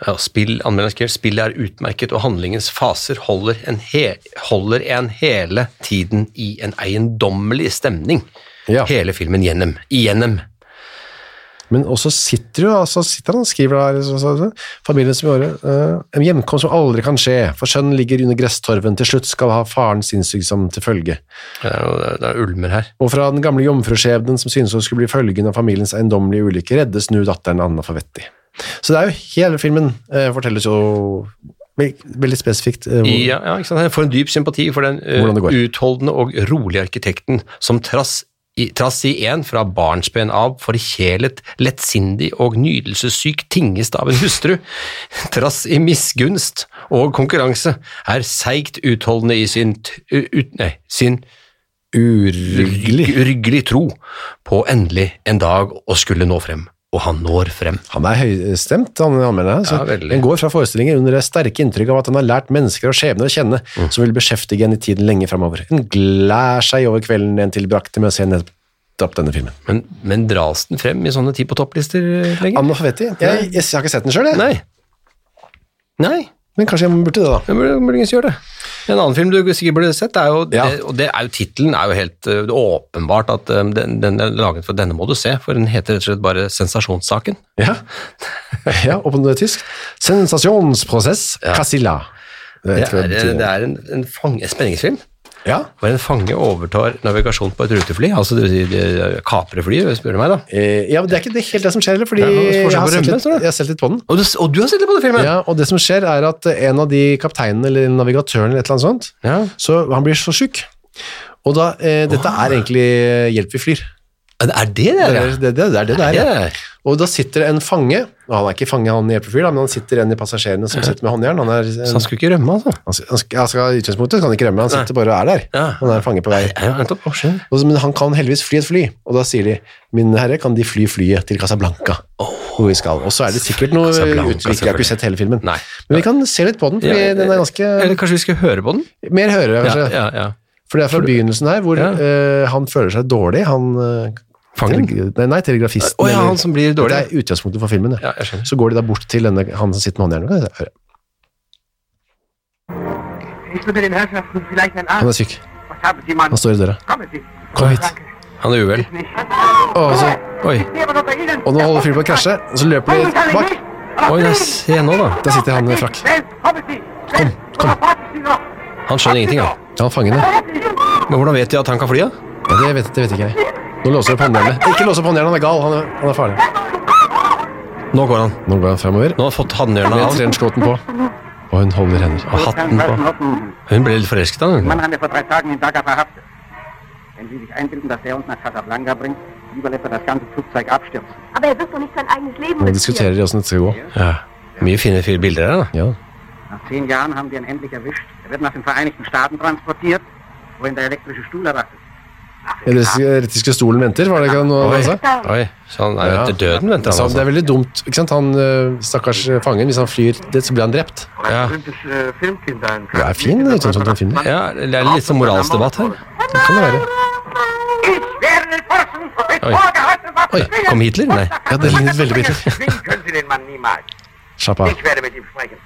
Speaker 1: Ja, spill, anmelderen skriver spillet er utmerket, og handlingens faser holder en, he, holder en hele tiden i en eiendommelig stemning.
Speaker 2: Ja.
Speaker 1: Hele filmen gjennom. Igjennom.
Speaker 2: Men også sitter jo, altså sitter han og skriver der, så, så, så, familien som gjorde øh, en hjemkomst som aldri kan skje, for sønnen ligger under gresstorven, til slutt skal ha faren sinnssykdom til følge.
Speaker 1: Det er, jo- det er ulmer her.
Speaker 2: Og fra den gamle jomfruskjebnen som synes hun skulle bli følgen av familiens eiendommelige ulykke, reddes nå datteren Anna Favetti. Så det er jo hele filmen eh, fortelles jo ve veldig spesifikt. eh, hvor-
Speaker 1: Ja, ja, ikke sant? Jeg får en dyp sympati for den eh,
Speaker 2: Hvordan det går.
Speaker 1: utholdende og rolige arkitekten som trass i, trass i en fra barnsben av forkjælet, lettsindig og nydelsessyk tingest av en hustru, trass i misgunst og konkurranse, er seigt utholdende i sin, t- u- ut, nei, sin
Speaker 2: Urgelig.
Speaker 1: urgelig tro på endelig en dag å skulle nå frem. Og han når frem.
Speaker 2: Han er høystemt, han anmelderen. her,
Speaker 1: Ja,
Speaker 2: så
Speaker 1: veldig.
Speaker 2: Han går fra forestillinger under det sterke inntrykk av at han har lært mennesker og skjebner å kjenne,
Speaker 1: Mm.
Speaker 2: som vil beskjeftige henne i tiden lenge framover. Hun glær seg over kvelden en tilbrakte med å se ned opp denne filmen.
Speaker 1: Men, men dras den frem i sånne ti på topplister eh, lenger?
Speaker 2: Analfabeti? Jeg, jeg, jeg har ikke sett den sjøl, jeg.
Speaker 1: Nei. Nei.
Speaker 2: Men kanskje jeg burde det, da.
Speaker 1: Jeg burde muligens gjøre det. En annen film du sikkert burde sett, er jo,
Speaker 2: Ja.
Speaker 1: det, og det er jo tittelen er jo helt eh, det er åpenbart at eh, den, den er laget for denne må du se, for den heter rett og slett bare Sensasjonssaken.
Speaker 2: Ja, ja og på tysk. Sensasjonsprosess Casilla.
Speaker 1: Det
Speaker 2: Det tror
Speaker 1: er,
Speaker 2: jeg
Speaker 1: eh,
Speaker 2: betyr
Speaker 1: det
Speaker 2: det.
Speaker 1: er en, en, fange, en spenningsfilm.
Speaker 2: Ja.
Speaker 1: Hvor en fange overtar navigasjon på et rutefly, altså det vil si de kaprer flyet, spør du meg da.
Speaker 2: Eh, ja, men det er ikke det, helt det som skjer heller, fordi
Speaker 1: Ja, forsøk på
Speaker 2: jeg har, sett
Speaker 1: rømme,
Speaker 2: litt,
Speaker 1: står det.
Speaker 2: jeg har sett litt på den.
Speaker 1: Og du, og du har sett litt på den filmen?
Speaker 2: Ja, og det som skjer er at en av de kapteinene eller navigatøren eller et eller annet sånt,
Speaker 1: Ja.
Speaker 2: så han blir så syk. Og da, eh, dette er egentlig eh, hjelp vi flyr.
Speaker 1: Er det det?
Speaker 2: Det
Speaker 1: ja?
Speaker 2: er det det, det, er det det er.
Speaker 1: Ja,
Speaker 2: ja.
Speaker 1: ja.
Speaker 2: Og da sitter det en fange, og han er ikke fange han i hjelp vi flyr, da, men han sitter en i passasjerene som sitter med håndjern. Han er eh,
Speaker 1: Så han skulle ikke rømme, altså?
Speaker 2: Han skal, han skal, han skal, I utgangspunktet kan han ikke rømme, han sitter bare og er der.
Speaker 1: Ja.
Speaker 2: Han er fange på vei.
Speaker 1: Ja, nettopp. Å, skjønner.
Speaker 2: Og så- Men han kan heldigvis fly et fly, og da sier de min herre, kan de fly flyet til Casablanca? Hvor vi skal. Og så er det sikkert noe
Speaker 1: Casablanca,
Speaker 2: utvikling, jeg har ikke sett hele filmen.
Speaker 1: Nei.
Speaker 2: Men vi kan se litt på den, for
Speaker 1: Ja,
Speaker 2: den er ganske
Speaker 1: Eller kanskje vi skal høre på den?
Speaker 2: Mer hører jeg
Speaker 1: Ja,
Speaker 2: kanskje.
Speaker 1: ja, ja.
Speaker 2: For det er fra begynnelsen her, hvor
Speaker 1: Ja.
Speaker 2: eh, han føler seg dårlig. Han eh,
Speaker 1: Fangen?
Speaker 2: teleg- Nei, nei, telegrafisten.
Speaker 1: Å, ja,
Speaker 2: eller-
Speaker 1: han som blir dårlig.
Speaker 2: Det er utgangspunktet for filmen, ja.
Speaker 1: Ja, jeg skjønner.
Speaker 2: Så går de da bort til denne, han som sitter med håndjernet. og kan høre.
Speaker 3: Ist unter den Herrschaften vielleicht ein
Speaker 2: Han
Speaker 3: Arzt?
Speaker 2: er syk.
Speaker 3: Was haben Sie, Mann?
Speaker 2: Han står i døra.
Speaker 3: Kommen Sie.
Speaker 2: Kom hit.
Speaker 3: Danke.
Speaker 1: Han er uvel.
Speaker 3: Nicht.
Speaker 2: Og så
Speaker 1: Oi.
Speaker 3: Ich stehe aber unter Ihnen.
Speaker 2: Og nå holder fyren på å krasje, og så løper
Speaker 3: Folgen
Speaker 2: de
Speaker 3: kann ich
Speaker 2: bak.
Speaker 3: nicht. Aber
Speaker 1: Oi,
Speaker 3: Sie-
Speaker 1: jeg ser nå, da.
Speaker 2: Der sitter han med frakk.
Speaker 3: Schnell, kommen Sie. Schnell.
Speaker 2: komm.
Speaker 3: Oder warten Sie noch.
Speaker 1: Han skjønner ingenting, han.
Speaker 2: Ja, han fanger det.
Speaker 3: Warten Sie.
Speaker 1: Men hvordan vet de at han kan fly, da?
Speaker 2: Ja, det, vet, det vet ikke jeg. Nå låser vi opp håndjernet. Ikke lås opp håndjernet, han er gal. Han er, han er farlig.
Speaker 1: Nå går han.
Speaker 2: Nå går han framover.
Speaker 1: Nå har han fått hannhjørnet
Speaker 2: Med
Speaker 1: av
Speaker 2: trenchcoaten på. Og hun holder hender.
Speaker 1: og hatten på. Hun ble litt forelsket av
Speaker 3: Den
Speaker 1: den.
Speaker 3: Mann haben wir vor drei Tagen in Dhaka verhaftet. Wenn Sie sich einbilden, dass er uns nach Casablanca bringt, lieber lässt er das ganze Flugzeug abstürzen.
Speaker 4: Aber er wird doch nicht sein eigenes Leben
Speaker 2: Nå
Speaker 4: riskieren.
Speaker 2: diskuterer de åssen dette skal gå.
Speaker 1: Ja. Mye fine fire bilder her, da.
Speaker 2: Ja.
Speaker 3: Nach zehn Jahren haben wir ihn endlich erwischt. Er wird nach den Vereinigten Staaten transportiert, wohin der elektrische Stuhl erwartet.
Speaker 2: Den rettiske stolen venter, var det ikke noe han sa?
Speaker 1: Oi, så han er jo
Speaker 2: Ja.
Speaker 1: etter døden, venter
Speaker 2: Så
Speaker 1: han.
Speaker 2: det
Speaker 1: Altså.
Speaker 2: er veldig dumt. ikke sant? Han eh, stakkars eh, fangen, hvis han flyr dit, så blir han drept.
Speaker 1: Ja.
Speaker 3: äh,
Speaker 2: Det er fin eh, sånn som den filmen.
Speaker 1: ja, det er litt sånn moralsdebatt her.
Speaker 2: Det kan det være.
Speaker 3: Ich werde den Forschung für
Speaker 1: Oi.
Speaker 3: vorgehalten
Speaker 1: Oi, kom Hitler? Nei.
Speaker 2: Ja, det lignet veldig på Hitler.
Speaker 3: Zwingen können Sie den Mann niemals.
Speaker 2: Slapp av.
Speaker 3: Ich werde mit ihm sprechen.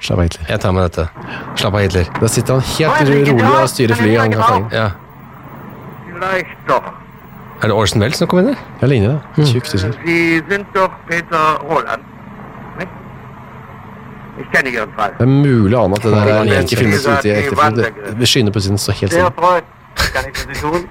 Speaker 2: Slapp av, Hitler.
Speaker 1: Jeg tar med dette. Slapp av, Hitler.
Speaker 2: Da sitter han helt rolig og styrer flyet. Han kan fange.
Speaker 1: Ja.
Speaker 3: Vielleicht doch.
Speaker 1: Er det Orson Welles som kom inn der?
Speaker 2: Ja, ligner det. Tjukk tysker.
Speaker 3: Sie sind doch Peter Roland. nicht? Ich kenne Ihren Fall.
Speaker 2: Det er mulig å ane at det der er ikke filmet ute i ekte film. Det-
Speaker 3: Vandegrift.
Speaker 2: Det skyner plutselig så helt
Speaker 3: Sehr
Speaker 2: stille.
Speaker 3: freut. Kann ich für Sie tun?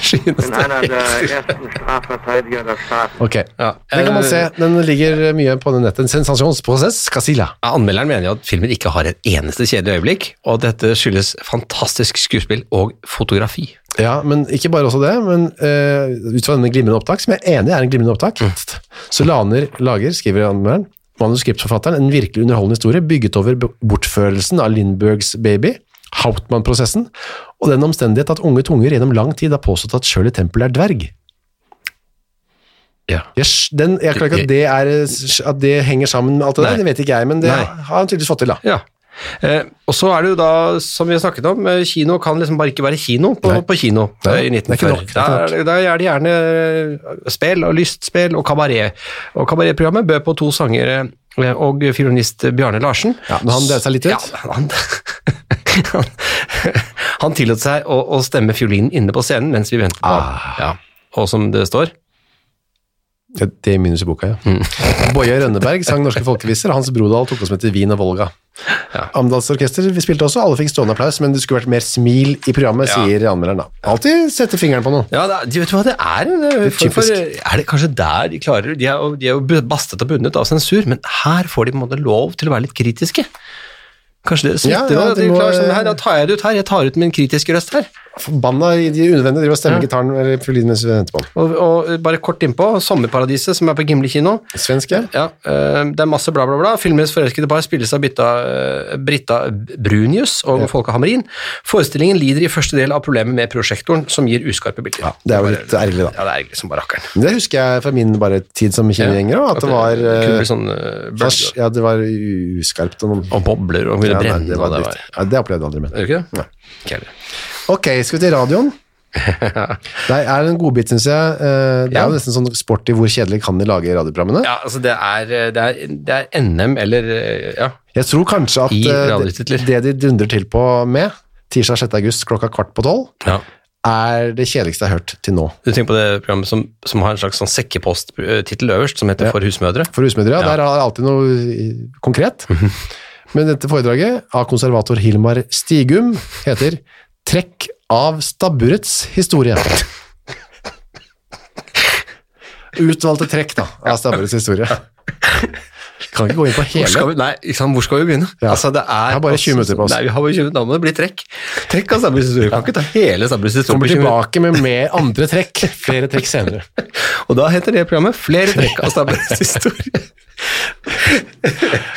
Speaker 3: Ich bin einer der ersten Strafverteidiger der Staaten.
Speaker 2: Ok,
Speaker 1: Ja.
Speaker 2: den kan man se. Den ligger eh, mye på den nettet. En sensasjonsprosess, Casilla.
Speaker 1: Anmelderen mener jo at filmen ikke har et eneste kjedelig øyeblikk, og at dette skyldes fantastisk skuespill og fotografi.
Speaker 2: Ja, men ikke bare også det, men eh, ut fra denne glimrende opptak, som jeg er enig i er en glimrende opptak,
Speaker 1: Mm.
Speaker 2: så laner, lager, skriver anmelderen, manuskriptforfatteren en virkelig underholdende historie bygget over b- bortførelsen av Lindbergs baby, Hauptmann-prosessen, og den omstendighet at unge tunger gjennom lang tid har påstått at Shirley Temple er dverg.
Speaker 1: Ja.
Speaker 2: Jeg, sk- den, jeg klarer ikke at det, er, at det henger sammen med alt det
Speaker 1: Nei.
Speaker 2: der, det vet ikke jeg, men det
Speaker 1: Nei.
Speaker 2: har han tydeligvis fått til da.
Speaker 1: Ja. Eh, og så er det jo da, som vi har snakket om, eh, kino kan liksom bare ikke være kino på,
Speaker 2: Nei.
Speaker 1: på kino
Speaker 2: Nei,
Speaker 1: eh, i
Speaker 2: det er ikke nok,
Speaker 1: 1940.
Speaker 2: det
Speaker 1: Da
Speaker 2: er
Speaker 1: er det- Da er det gjerne eh, spill og lystspill og kabaret. Og kabaretprogrammet bød på to sangere eh, og fiolinist Bjarne Larsen.
Speaker 2: Ja, men han delte seg litt ut.
Speaker 1: Ja, han, han, han tillot seg å, å stemme fiolinen inne på scenen mens vi ventet på
Speaker 2: Ah.
Speaker 1: ham. Ja. Og som det står
Speaker 2: Ja, Det er minus i boka, ja.
Speaker 1: Mm.
Speaker 2: Boje Rønneberg sang norske folkeviser, og Hans Brodal tok oss med til Wien og Volga.
Speaker 1: Ja.
Speaker 2: Amdals orkester vi spilte også, alle fikk stående applaus, men det skulle vært mer smil i programmet,
Speaker 1: Ja.
Speaker 2: sier anmelderen da. Alltid sette fingeren på noe.
Speaker 1: Ja, det, er- du vet du hva det er? en, eh,
Speaker 2: Litt
Speaker 1: form for,
Speaker 2: typisk.
Speaker 1: er det kanskje der de klarer De er jo, de er jo bastet og bundet av sensur, men her får de på en måte lov til å være litt kritiske. Kanskje det
Speaker 2: Ja,
Speaker 1: smitter?
Speaker 2: ja,
Speaker 1: da, at
Speaker 2: de
Speaker 1: de
Speaker 2: må- eh,
Speaker 1: klarer sånn, her, da tar jeg det ut her. Jeg tar ut min kritiske røst her.
Speaker 2: Forbanna i de unødvendige driver og stemmer gitaren eller fiolinen mens vi venter på den.
Speaker 1: Og, og bare kort innpå, Sommerparadiset, som er på Gimle kino.
Speaker 2: Svensk, ja.
Speaker 1: Ja, eh, det er masse bla, bla, bla. Filmens forelskede par spilles av Britta, eh, Britta Brunius og Folke Hamrin. Forestillingen lider i første del av problemet med prosjektoren, som gir uskarpe bilder. Ja,
Speaker 2: Det er jo litt ergerlig da.
Speaker 1: ja, det er egentlig som bare rakkeren.
Speaker 2: Men Det husker jeg fra min bare tid som kinogjenger, også, at det var...
Speaker 1: kunne
Speaker 2: eh,
Speaker 1: bli sånn, eh,
Speaker 2: flash-
Speaker 1: bølger.
Speaker 2: Ja, det var u- uskarpt og noen...
Speaker 1: Og bobler og ville
Speaker 2: Ja, nei,
Speaker 1: brenne.
Speaker 2: det var
Speaker 1: og det
Speaker 2: dritt. Ja, det opplevde jeg aldri med.
Speaker 1: Er det ikke det?
Speaker 2: Nei.
Speaker 1: Ikke heller.
Speaker 2: Ok, skal vi til radioen? Nei, er en godbit, syns jeg. Eh, Det er
Speaker 1: Ja.
Speaker 2: jo nesten sånn sporty hvor kjedelig kan de lage radioprogrammene.
Speaker 1: Ja, altså det er, det er, det er NM eller eh, ja.
Speaker 2: Jeg tror kanskje at
Speaker 1: I
Speaker 2: eh, det,
Speaker 1: radiotitler.
Speaker 2: det de dundrer til på med, tirsdag 6. august klokka kvart på tolv, er det kjedeligste jeg har hørt til nå.
Speaker 1: Du tenker på det programmet som, som har en slags sånn sekkepost-tittel øverst, som heter
Speaker 2: Ja.
Speaker 1: For husmødre?
Speaker 2: For husmødre, ja.
Speaker 1: Ja.
Speaker 2: Der er det alltid noe eh, konkret. Men dette foredraget av konservator Hilmar Stigum heter 'Trekk av stabburets historie'. Utvalgte trekk da, av stabburets historie. Kan ikke gå inn på
Speaker 1: Hvor skal
Speaker 2: hele.
Speaker 1: vi, nei, ikke sant, hvor skal vi begynne?
Speaker 2: Ja.
Speaker 1: Altså, det er,
Speaker 2: Vi har bare 20 minutter på oss.
Speaker 1: Nei, vi har bare 20 minutter, da må det bli trekk. Trekk av Stabbuls historie. Vi Kan ikke ta hele Stabbuls historie på 20
Speaker 2: Kommer
Speaker 1: minutter.
Speaker 2: tilbake med mer andre trekk, flere trekk senere.
Speaker 1: Og da heter det programmet Flere trekk av Stabbuls historie.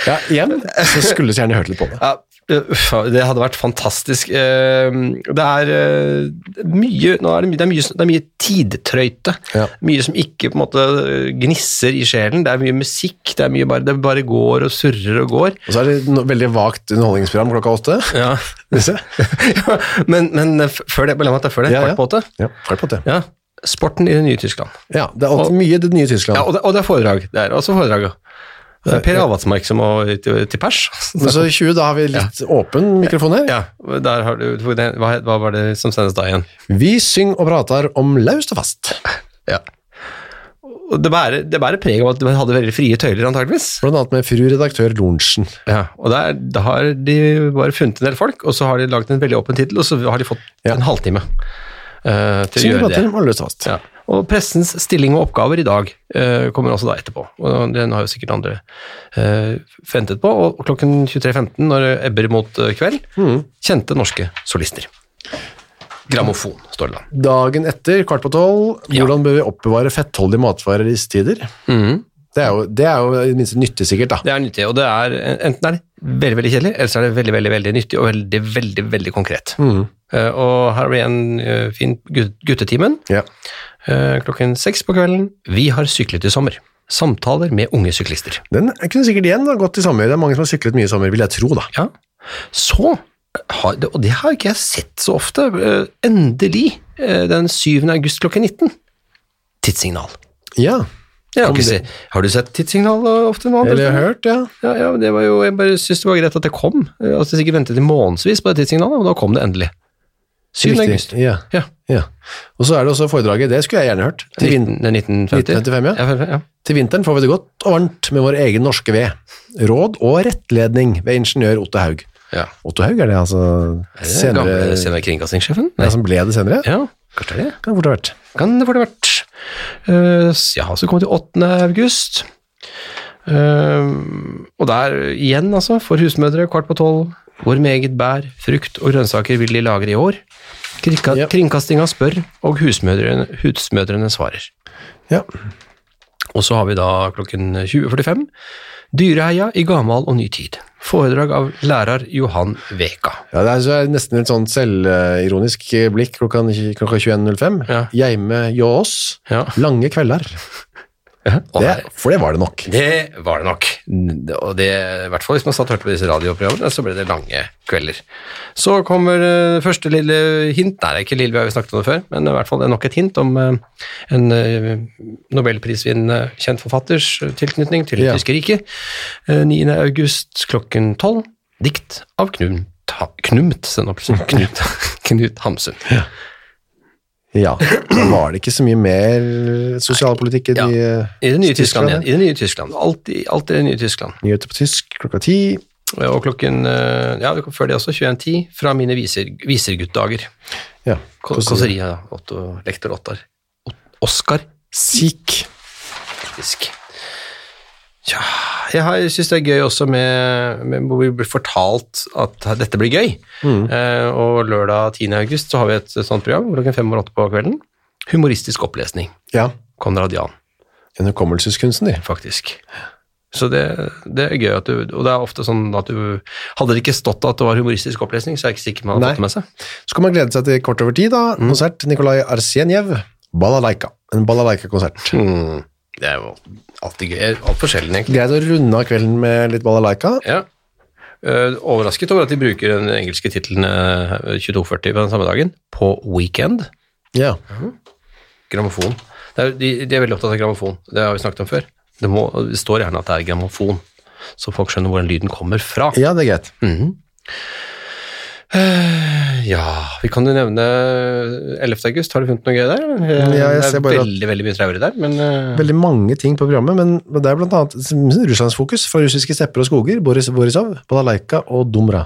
Speaker 2: Ja, igjen, så skulle jeg gjerne hørt litt på det.
Speaker 1: Ja, uff, det hadde vært fantastisk. Eh, Det er eh, mye, nå er det, mye- det, er mye, det er mye tidtrøyte.
Speaker 2: Ja.
Speaker 1: Mye som ikke på en måte gnisser i sjelen. Det er mye musikk, det, er mye bare, det bare går og surrer og går.
Speaker 2: Og så er det no veldig vagt underholdningsprogram klokka åtte.
Speaker 1: Ja.
Speaker 2: Disse.
Speaker 1: men men eh, f- før det, la meg ta før det,
Speaker 2: Ja, ja.
Speaker 1: kvart på åtte.
Speaker 2: Ja, kvart på åtte.
Speaker 1: Ja. Sporten i det nye Tyskland.
Speaker 2: Ja, det er alltid mye i det nye Tyskland.
Speaker 1: Ja, og det, og det er foredrag. Det er også foredrag. ja. Det er Per Avatsmark som må til, til pers.
Speaker 2: Men så i 20, da har vi litt åpen mikrofon her.
Speaker 1: Ja, der har du, hva, hva var det som sendes da igjen?
Speaker 2: Vi syng og prater om laust og fast.
Speaker 1: Ja. Og det bærer, det bærer preg av at du hadde veldig frie tøyler, antageligvis.
Speaker 2: Blant annet med fru redaktør Lorentzen.
Speaker 1: Ja, og der, da har de bare funnet en del folk, og så har de laget en veldig åpen tittel, og så har de fått
Speaker 2: Ja.
Speaker 1: en halvtime eh, til å
Speaker 2: Syng og
Speaker 1: gjøre det.
Speaker 2: prater om laust og fast.
Speaker 1: Ja. Og pressens stilling og oppgaver i dag eh, kommer også da etterpå. Og den har jo sikkert andre eh, ventet på. Og klokken 23.15, når det ebber mot eh, kveld, kjente norske solister. Grammofon, står det da.
Speaker 2: Dagen etter, kvart på tolv,
Speaker 1: Ja.
Speaker 2: hvordan bør vi oppbevare fettholdige matvarer i istider?
Speaker 1: Mhm.
Speaker 2: Det er jo, det er jo i det minste nyttig sikkert, da.
Speaker 1: Det er nyttig, og det er enten er det veldig veldig kjedelig, eller så er det veldig veldig, veldig nyttig og veldig veldig, veldig konkret.
Speaker 2: Mhm.
Speaker 1: Eh, og her har vi en eh, fin gut- guttetimen
Speaker 2: Ja.
Speaker 1: eh, klokken seks på kvelden. Vi har syklet i sommer. Samtaler med unge syklister.
Speaker 2: Den kunne sikkert igjen da, gått i sommer. Det er mange som har syklet mye i sommer, vil jeg tro, da.
Speaker 1: Ja. Så har, og det har ikke jeg sett så ofte, eh, endelig eh, den 7. august klokken 19. Tidssignal.
Speaker 2: Ja,
Speaker 1: Jeg har,
Speaker 2: Kom
Speaker 1: ikke
Speaker 2: det-
Speaker 1: se, har du sett tidssignal eh, ofte nå?
Speaker 2: eller jeg har
Speaker 1: Anders?
Speaker 2: hørt, ja.
Speaker 1: Ja, ja, men det var jo, jeg bare syntes det var greit at det kom. Eh, Altså, jeg sikkert ventet i månedsvis på det tidssignalet, og da kom det endelig. 7.
Speaker 2: Riktig.
Speaker 1: august.
Speaker 2: Ja.
Speaker 1: Ja.
Speaker 2: ja. Og så er det også foredraget, det skulle jeg gjerne hørt. Til, vin
Speaker 1: 19, det er 1950.
Speaker 2: 1955, ja.
Speaker 1: ja. ja.
Speaker 2: Til vinteren får vi det godt og varmt med vår egen norske ved. Råd og rettledning ved ingeniør Otto Haug.
Speaker 1: ja.
Speaker 2: Otto Haug er det altså senere,
Speaker 1: Eh, Gamle senere kringkastingssjefen?
Speaker 2: ja,
Speaker 1: Nei.
Speaker 2: som ble det senere?
Speaker 1: Ja, kanskje det.
Speaker 2: Kan fort ha vært.
Speaker 1: Kan det få det vært. Eh, s- ja, så kom vi til 8. august. Eh, og der igjen, altså, for husmødre, kvart på tolv. Hvor meget bær, frukt og grønnsaker vil de lagre i år? Kringka,
Speaker 2: Ja.
Speaker 1: Kringkastinga spør, og husmødrene, husmødrene svarer.
Speaker 2: Ja.
Speaker 1: Og så har vi da klokken 20.45 Dyreheia i gamal og ny tid. Foredrag av lærer Johan Veka.
Speaker 2: ja, det er så er det nesten et sånn selvironisk blikk klokka, klokka 21.05.
Speaker 1: Ja.
Speaker 2: Hjemme hjå oss.
Speaker 1: Ja.
Speaker 2: Lange kvelder.
Speaker 1: Og
Speaker 2: Det,
Speaker 1: der-
Speaker 2: for det var det nok.
Speaker 1: Det var det nok. Og det, I hvert fall hvis man satt og hørte på disse radioprogrammene, så ble det lange kvelder. Så kommer eh, første lille hint. Nei, det er ikke lille, vi har jo snakket om det før, men i hvert fall det er nok et hint om eh, en eh, nobelprisvinnende kjent forfatters tilknytning til det
Speaker 2: Ja.
Speaker 1: tyske riket. Eh, 9. august klokken 12. Dikt av Knut, ha Knumt, send opp, Knut, Knut Hamsun.
Speaker 2: Ja. Da var det ikke så mye mer sosialpolitikk i de
Speaker 1: Ja. I det nye Tyskland
Speaker 2: ja.
Speaker 1: igjen. I det nye Tyskland. Alltid alltid i det nye Tyskland.
Speaker 2: Nyheter på tysk klokka ti.
Speaker 1: Og klokken eh, ja, det kom før det også, 21.10, fra mine viser, viserguttdager.
Speaker 2: Ja.
Speaker 1: Ko- Kåseria, ja. Otto, lektor Ottar. Ot- Oskar,
Speaker 2: Sikh.
Speaker 1: faktisk. Tja, jeg, har- jeg syns det er gøy også med, med hvor vi blir fortalt at dette blir gøy. Eh, og lørdag 10. august så har vi et sånt program klokken fem over åtte på kvelden. Humoristisk opplesning.
Speaker 2: Ja.
Speaker 1: Konrad Jan.
Speaker 2: En hukommelseskunstner.
Speaker 1: faktisk. Så det, det er gøy at du Og det er ofte sånn at du Hadde det ikke stått at det var humoristisk opplesning, så er jeg ikke sikker på om man hadde fått
Speaker 2: Nei.
Speaker 1: det med seg.
Speaker 2: Så kan man glede seg til kvart over ti, da.
Speaker 1: Mm.
Speaker 2: Konsert Nikolai Arsenjev. Balalaika. En balalaika-konsert.
Speaker 1: Det er jo alltid gøy. Altfor sjelden, egentlig.
Speaker 2: Greit å runde av kvelden med litt balalaika.
Speaker 1: Ja. Eh, overrasket over at de bruker den engelske tittelen eh, 2240 på den samme dagen, på Weekend.
Speaker 2: Ja.
Speaker 1: Grammofon. Det er, de, de er veldig opptatt av grammofon. Det har vi snakket om før. Det, må, det står gjerne at det er grammofon, så folk skjønner hvor den lyden kommer fra.
Speaker 2: ja, det er greit.
Speaker 1: Mhm. Eh, ja, vi kan jo nevne 11. august. Har du funnet noe gøy der? Eh,
Speaker 2: Mm, Ja, jeg
Speaker 1: det
Speaker 2: ser
Speaker 1: er
Speaker 2: bare at-
Speaker 1: veldig, veldig mye traurig der, men eh,
Speaker 2: Veldig mange ting på programmet, men det er blant annet Russlandsfokus fra russiske stepper og skoger, Boris Borisov, Balalaika og Dumra.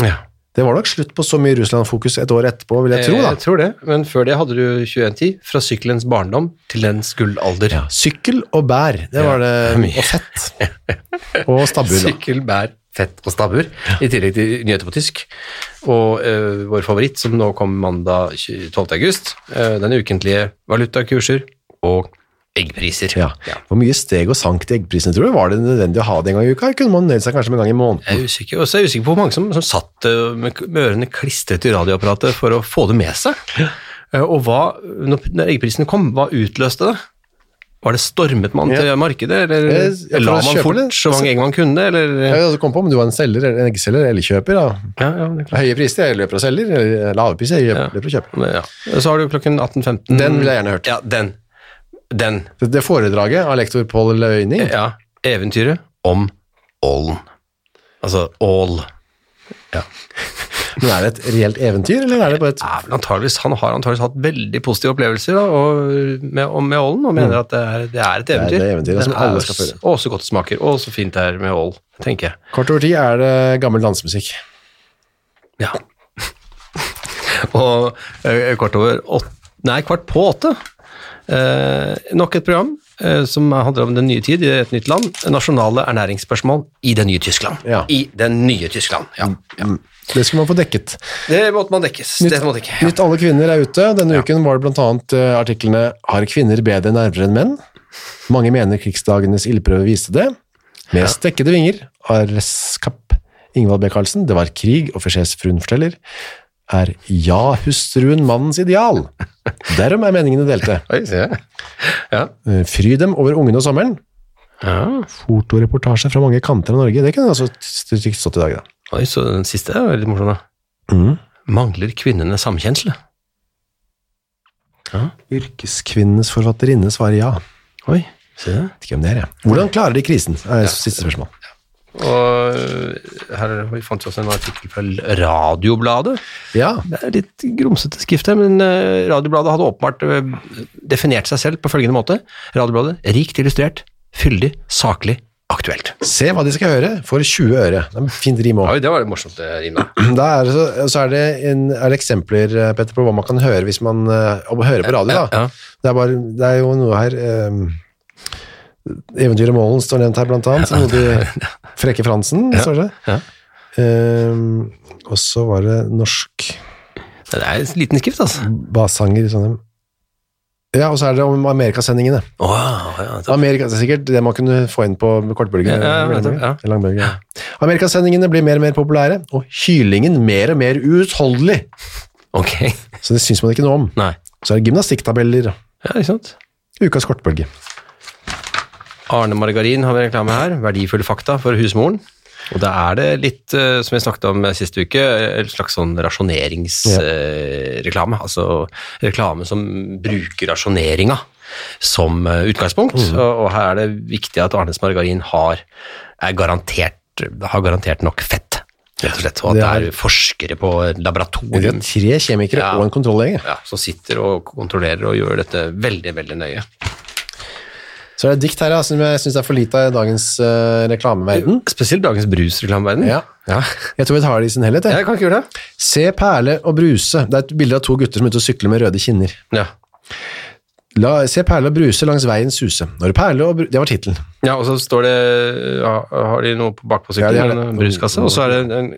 Speaker 1: ja.
Speaker 2: Det var nok slutt på så mye Russland-fokus et år etterpå, vil jeg tro.
Speaker 1: Eh,
Speaker 2: da.
Speaker 1: Jeg tror det, men før det hadde du 2110, fra sykkelens barndom til dens gullalder.
Speaker 2: Sykkel og bær, det var det.
Speaker 1: det er mye.
Speaker 2: Og fett. Og stabbur. da.
Speaker 1: Sykkel, bær, fett og stabbur, i tillegg til nyheter på tysk. Og eh, vår favoritt, som nå kom mandag 12. august, eh, den ukentlige valutakurser og eggpriser.
Speaker 2: Ja. Hvor mye steg og sank til eggprisene, tror du? Var det nødvendig å ha det en gang i uka? Kunne man nøyd seg kanskje med en gang i måneden?
Speaker 1: Jeg er usikker, og så er jeg usikker på hvor mange som, som satt eh, med, k- med ørene klistret til radioapparatet for å få det med seg. Eh, Og hva, når, når eggprisen kom, hva utløste det? Var det stormet man til markedet, eller
Speaker 2: Eh, ja, for
Speaker 1: la
Speaker 2: å
Speaker 1: man
Speaker 2: kjøpe
Speaker 1: fort
Speaker 2: det.
Speaker 1: så mange egg man kunne,
Speaker 2: Jeg
Speaker 1: eller?
Speaker 2: vil altså komme på om du var en selger, eller en eggselger eller kjøper. Da.
Speaker 1: Ja, ja, det er klart.
Speaker 2: Høye priser, jeg løper og selger. Eller lave priser, jeg løper og kjøper.
Speaker 1: Men, ja. Så har du klokken 18.15.
Speaker 2: Den vil jeg gjerne hørt.
Speaker 1: Ja, den. Den.
Speaker 2: Det- Det foredraget av lektor Pål Løyning
Speaker 1: Ja. Eventyret om ålen. Altså ål.
Speaker 2: Men er det et reelt eventyr, eller er det bare et
Speaker 1: er vel antageligvis, han har antageligvis hatt veldig positive opplevelser da, og, med, og med ålen, og mener at det er, det er et eventyr.
Speaker 2: Mm. det er eventyret som
Speaker 1: Den er
Speaker 2: alle
Speaker 1: jo
Speaker 2: skal føre.
Speaker 1: s- Å, så godt det smaker, og så fint det er med ål, tenker jeg.
Speaker 2: Kort over tid er det gammel dansemusikk.
Speaker 1: Ja. og eh, kvart over åtte, nei, kvart på åtte, eh, nok et program eh, som handler om den nye tid i et nytt land, nasjonale ernæringsspørsmål i det nye Tyskland.
Speaker 2: Ja.
Speaker 1: I det nye Tyskland, ja.
Speaker 2: Det skulle man få dekket.
Speaker 1: Det måtte man dekkes, det måtte ikke. Ja.
Speaker 2: Nytt Alle kvinner er ute. Denne uken var det blant annet eh, artiklene Har kvinner bedre nerver enn menn? Mange mener krigsdagenes ildprøve viste det. Med stekkede vinger. Arreskap. Ingvald B. Carlsen. Det var krig, offisersfruen forteller. Er ja-hustruen mannens ideal? Derom er meningene delte.
Speaker 1: Oi, se. Ja.
Speaker 2: Eh, Fry dem over ungene og sommeren.
Speaker 1: ja.
Speaker 2: Fotoreportasje fra mange kanter av Norge. Det kunne altså trygt stått i dag, da.
Speaker 1: Oi, så den siste er veldig morsom, da.
Speaker 2: Mm.
Speaker 1: Mangler kvinnene samkjensle?
Speaker 2: Yrkeskvinnenes forfatterinne svarer ja.
Speaker 1: Oi, se det.
Speaker 2: Vet ikke hvem det er, jeg. Hvordan klarer de krisen? Er siste spørsmål.
Speaker 1: Og øh, her er det- vi fant vi også en artikkel fra L- Radiobladet.
Speaker 2: Ja,
Speaker 1: Det er litt grumsete skrift her, men øh, Radiobladet hadde åpenbart øh, definert seg selv på følgende måte. Radiobladet rikt illustrert, fyldig, saklig, aktuelt.
Speaker 2: se hva de skal høre for 20 øre. Det er en fint rim også.
Speaker 1: Oi, det var litt morsomt, eh, det rimet.
Speaker 2: Da er det, så, så er det, en, er det eksempler eh, Petter, på hva man kan høre hvis man eh, og hører på radio. Da.
Speaker 1: Ja.
Speaker 2: Det, er bare, det er jo noe her eh, Eventyret Målen står nevnt her, blant annet. Noe de, Frekke Fransen, står det.
Speaker 1: ja.
Speaker 2: Eh, og så var det norsk
Speaker 1: Det er en liten skrift, altså.
Speaker 2: bassanger i Trondheim. Ja, og så er det om amerikasendingene.
Speaker 1: Åh, ja, det-
Speaker 2: Amerika, det er sikkert det man kunne få inn på kortbølge.
Speaker 1: Ja, ja, ja,
Speaker 2: langbølge,
Speaker 1: ja.
Speaker 2: eller langbølge, ja. Amerikasendingene blir mer og mer populære, og kylingen mer og mer uutholdelig.
Speaker 1: ok.
Speaker 2: Så det syns man ikke noe om.
Speaker 1: Nei.
Speaker 2: Så er det gymnastikktabeller.
Speaker 1: Ja, ikke sant?
Speaker 2: Ukas kortbølge.
Speaker 1: Arne Margarin har vi reklame her. Verdifulle fakta for husmoren. Og da er det litt, eh, som vi snakket om sist uke, eh, en slags sånn
Speaker 2: Ja.
Speaker 1: rasjoneringsreklame. altså reklame som bruker rasjoneringa som eh, utgangspunkt. Og, og her er det viktig at Arnes Margarin har, er garantert, har garantert nok fett, rett og slett. Og at det er,
Speaker 2: Det
Speaker 1: forskere på
Speaker 2: Vi har
Speaker 1: laboratorium
Speaker 2: tre kjemikere
Speaker 1: Ja.
Speaker 2: og en kontrolllege.
Speaker 1: ja, som sitter og kontrollerer og gjør dette veldig, veldig nøye.
Speaker 2: Så er det et dikt her ja, som jeg syns er for lite av i dagens eh, reklameverden.
Speaker 1: Spesielt dagens brusreklameverden.
Speaker 2: Ja.
Speaker 1: Mm. ja.
Speaker 2: Jeg tror vi tar det i sin helhet. jeg.
Speaker 1: Jeg kan ikke gjøre det.
Speaker 2: Se Perle og Bruse. Det er et bilde av to gutter som er ute og sykler med røde kinner.
Speaker 1: Ja.
Speaker 2: La, se Perle og Bruse langs veien suse. Når Perle og Bru- Det var tittelen.
Speaker 1: ja, og så står det ja, Har de noe på bakpå
Speaker 2: Ja,
Speaker 1: sykkelen?
Speaker 2: de har det.
Speaker 1: en eh, bruskasse. Og så er det en,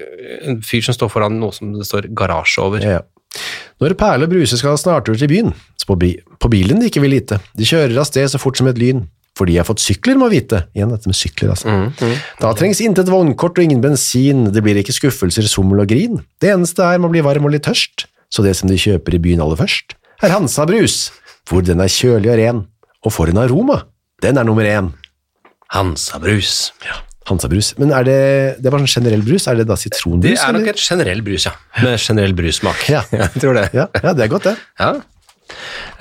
Speaker 1: en fyr som står foran noe som det står 'garasje' over.
Speaker 2: Ja. Når Perle og Bruse skal ha snartur til byen, så på, bi på bilen de ikke vil lite. De kjører av sted så fort som et lyn, for de har fått sykler, må vite. Igjen dette med sykler, altså.
Speaker 1: Mm,
Speaker 2: Da trengs intet vognkort og ingen bensin, det blir ikke skuffelser, sommel og grin. Det eneste er må bli varm og litt tørst, så det som de kjøper i byen aller først, er Hansa Brus, hvor den er kjølig og ren, og for en aroma. Den er nummer én.
Speaker 1: Hansa-brus.
Speaker 2: Hansa Brus. Men er det, det er bare sånn generell brus? Er det da sitronbrus?
Speaker 1: Det er nok
Speaker 2: eller?
Speaker 1: et generell brus, ja. Med generell brussmak.
Speaker 2: Ja.
Speaker 1: jeg tror det.
Speaker 2: Ja, ja, det er godt, det.
Speaker 1: Ja.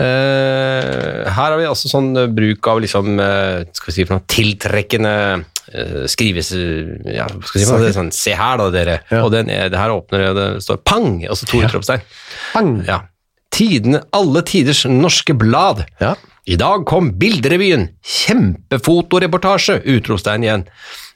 Speaker 1: Eh, her har vi altså sånn eh, bruk av liksom, eh, skal vi si, for noe tiltrekkende eh, skrives... Ja, hva skal vi si, for noe? det er sånn, se her da, dere.
Speaker 2: Ja.
Speaker 1: Og den er, det her åpner, og det står pang, og så to utropstegn.
Speaker 2: Pang!
Speaker 1: Ja. Tidene, alle tiders norske blad.
Speaker 2: Ja.
Speaker 1: I dag kom Bilderevyen. Kjempefotoreportasje! Utropstegn igjen.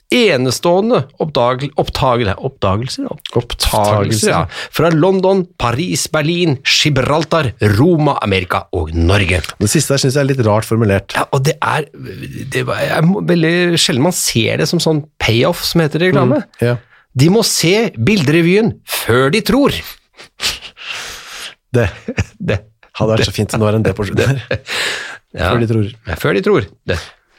Speaker 1: Enestående oppdagel, oppdagel, oppdagelser, opp, oppdagelser ja. fra London, Paris, Berlin, Gibraltar, Roma, Amerika og Norge.
Speaker 2: Det siste der synes jeg er litt rart formulert.
Speaker 1: Ja, og det er, det er veldig sjelden man ser det som sånn payoff, som heter det i reklame.
Speaker 2: Ja.
Speaker 1: Mm. De må se Bilderevyen før de tror!
Speaker 2: Det
Speaker 1: Det.
Speaker 2: hadde vært så fint. Nå er det en det på slutten. her.
Speaker 1: Ja.
Speaker 2: Før de tror.
Speaker 1: Ja, Før de tror. Det.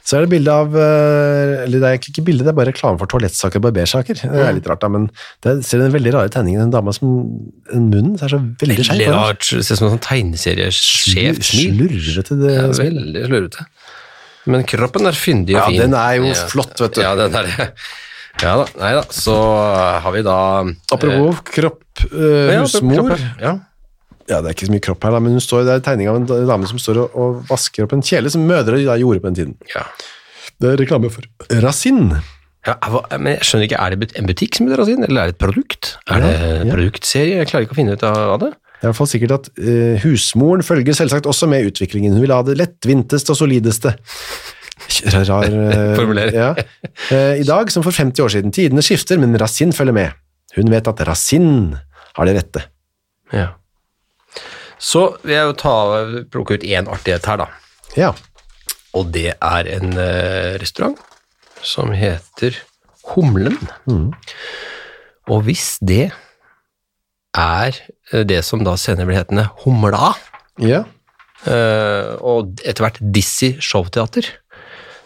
Speaker 2: Så er det bilde av eh, Eller det er egentlig ikke bilde, det er bare reklame for toalettsaker og barbersaker. Det
Speaker 1: Mm.
Speaker 2: er litt rart, da, men det ser den veldig rare tegningen. Den dama som en Munnen er så veldig skeiv.
Speaker 1: Veldig rart. Ser ut som en sånn tegneseriesjef smil.
Speaker 2: Slurrete det
Speaker 1: Ja,
Speaker 2: smilet.
Speaker 1: veldig slurrete. Men kroppen er fyndig og
Speaker 2: Ja,
Speaker 1: fin.
Speaker 2: den er jo flott, vet du.
Speaker 1: Ja, den er det. Ja da, nei da. Så har vi da
Speaker 2: Apropos kropp,
Speaker 1: eh,
Speaker 2: eh,
Speaker 1: ja,
Speaker 2: husmor
Speaker 1: kroppen, Ja.
Speaker 2: Ja, det er ikke så mye kropp her, da, men hun står, det er tegning av en da- dame som står og, og vasker opp en kjele, som mødre da gjorde på den tiden.
Speaker 1: Ja.
Speaker 2: Det er reklame for Rasin.
Speaker 1: Ja, hva- men jeg skjønner ikke, Er det but- en butikk som drar inn, eller er det et produkt? Er det en
Speaker 2: ja.
Speaker 1: produktserie? Jeg klarer ikke å finne ut av det.
Speaker 2: Det er i hvert fall sikkert at eh, husmoren følger selvsagt også med utviklingen. Hun vil ha det lettvinteste og solideste. Rar, rar eh,
Speaker 1: Formulering.
Speaker 2: Ja. Eh, I dag, som for 50 år siden, tidene skifter, men Rasin følger med. Hun vet at Rasin har det rette.
Speaker 1: Ja. Så vil jeg jo ta, plukke ut én artighet her, da.
Speaker 2: Ja,
Speaker 1: Og det er en eh, restaurant som heter Humlen. Og hvis det er eh, det som da senere blir hetende Humla,
Speaker 2: ja.
Speaker 1: eh, og etter hvert Dizzie Showteater,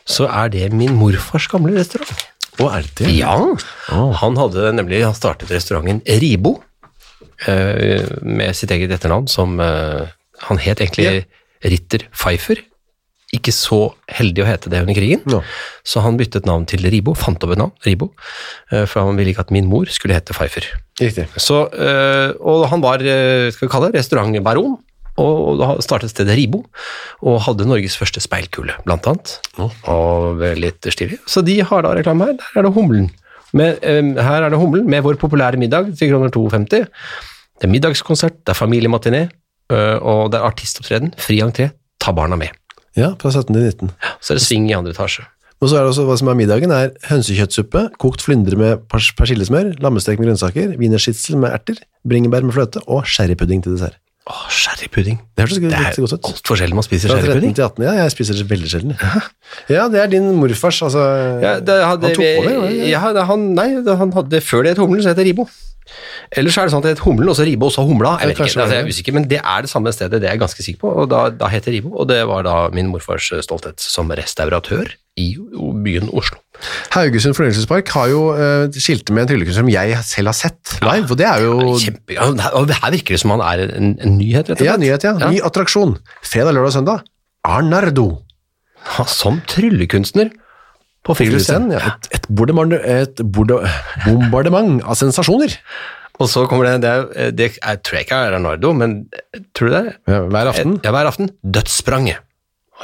Speaker 1: så er det min morfars gamle restaurant.
Speaker 2: Og er det det?
Speaker 1: Ja, han hadde nemlig han startet restauranten Ribo eh, med sitt eget etternavn som eh, Han het egentlig Ritter Pfeiffer. Ikke så heldig å hete det under krigen,
Speaker 2: Ja.
Speaker 1: så han byttet navn til Ribo. Fant opp et navn, Ribo, eh, for han ville ikke at min mor skulle hete Pfeiffer.
Speaker 2: Riktig.
Speaker 1: Så, eh, og han var eh, skal vi kalle det, restaurantbaron, og, og da startet stedet Ribo, og hadde Norges første speilkule, blant annet. Og vel litt stilig. Så de har da reklame her. Der er det humlen. Med, eh, her er det humlen med vår populære middag til kroner 2,50. Det er middagskonsert, det er familiematiné, eh, og det er artistopptreden. Fri entré, ta barna med.
Speaker 2: Ja, fra 17 til 19.
Speaker 1: Så er det sving i andre etasje.
Speaker 2: Og så er det også hva som er middagen, er hønsekjøttsuppe, kokt flyndre med pers persillesmør, lammestek med grønnsaker, wienerschitzel med erter, bringebær med fløte og sherrypudding til dessert.
Speaker 1: Å, sherrypudding.
Speaker 2: Det høres
Speaker 1: Det
Speaker 2: ikke
Speaker 1: er
Speaker 2: så godt ut.
Speaker 1: altfor sjelden man spiser
Speaker 2: Fra 13
Speaker 1: sherrypudding.
Speaker 2: til 18, ja, jeg spiser det veldig sjelden. Ja, det er din morfars, altså.
Speaker 1: Ja, det hadde,
Speaker 2: han tok over,
Speaker 1: ja.
Speaker 2: ja.
Speaker 1: det- han, nei, det- han hadde, før det het Humlen, så het det Ribo. Ellers er det sånn at det het Humlen, og så Ribo, og så Humla. Jeg vet
Speaker 2: Ja,
Speaker 1: ikke,
Speaker 2: kanskje
Speaker 1: altså,
Speaker 2: det.
Speaker 1: jeg er usikker, men det er det samme stedet, det er jeg ganske sikker på. Og da, da het det Ribo, og det var da min morfars eh, stolthet som restauratør i o- byen Oslo.
Speaker 2: Haugesund Fornøyelsespark har jo eh, skilte med en tryllekunst som jeg selv har sett live, og det er jo
Speaker 1: Kjempe, ja, det her- og det her virker det som han er en, en nyhet, rett og
Speaker 2: ja,
Speaker 1: slett.
Speaker 2: nyhet, ja. Ny attraksjon. Fredag, lørdag og søndag. Arnardo.
Speaker 1: Ja, som tryllekunstner på
Speaker 2: Friluftscenen,
Speaker 1: Friluftscenen.
Speaker 2: ja. Et, et, bordemand- et bordo- bombardement av sensasjoner.
Speaker 1: Og så kommer det, det, er, det er, tror jeg ikke er Arnardo, men tror du det? er?
Speaker 2: Ja, Hver aften.
Speaker 1: Ja, hver aften. Dødsspranget.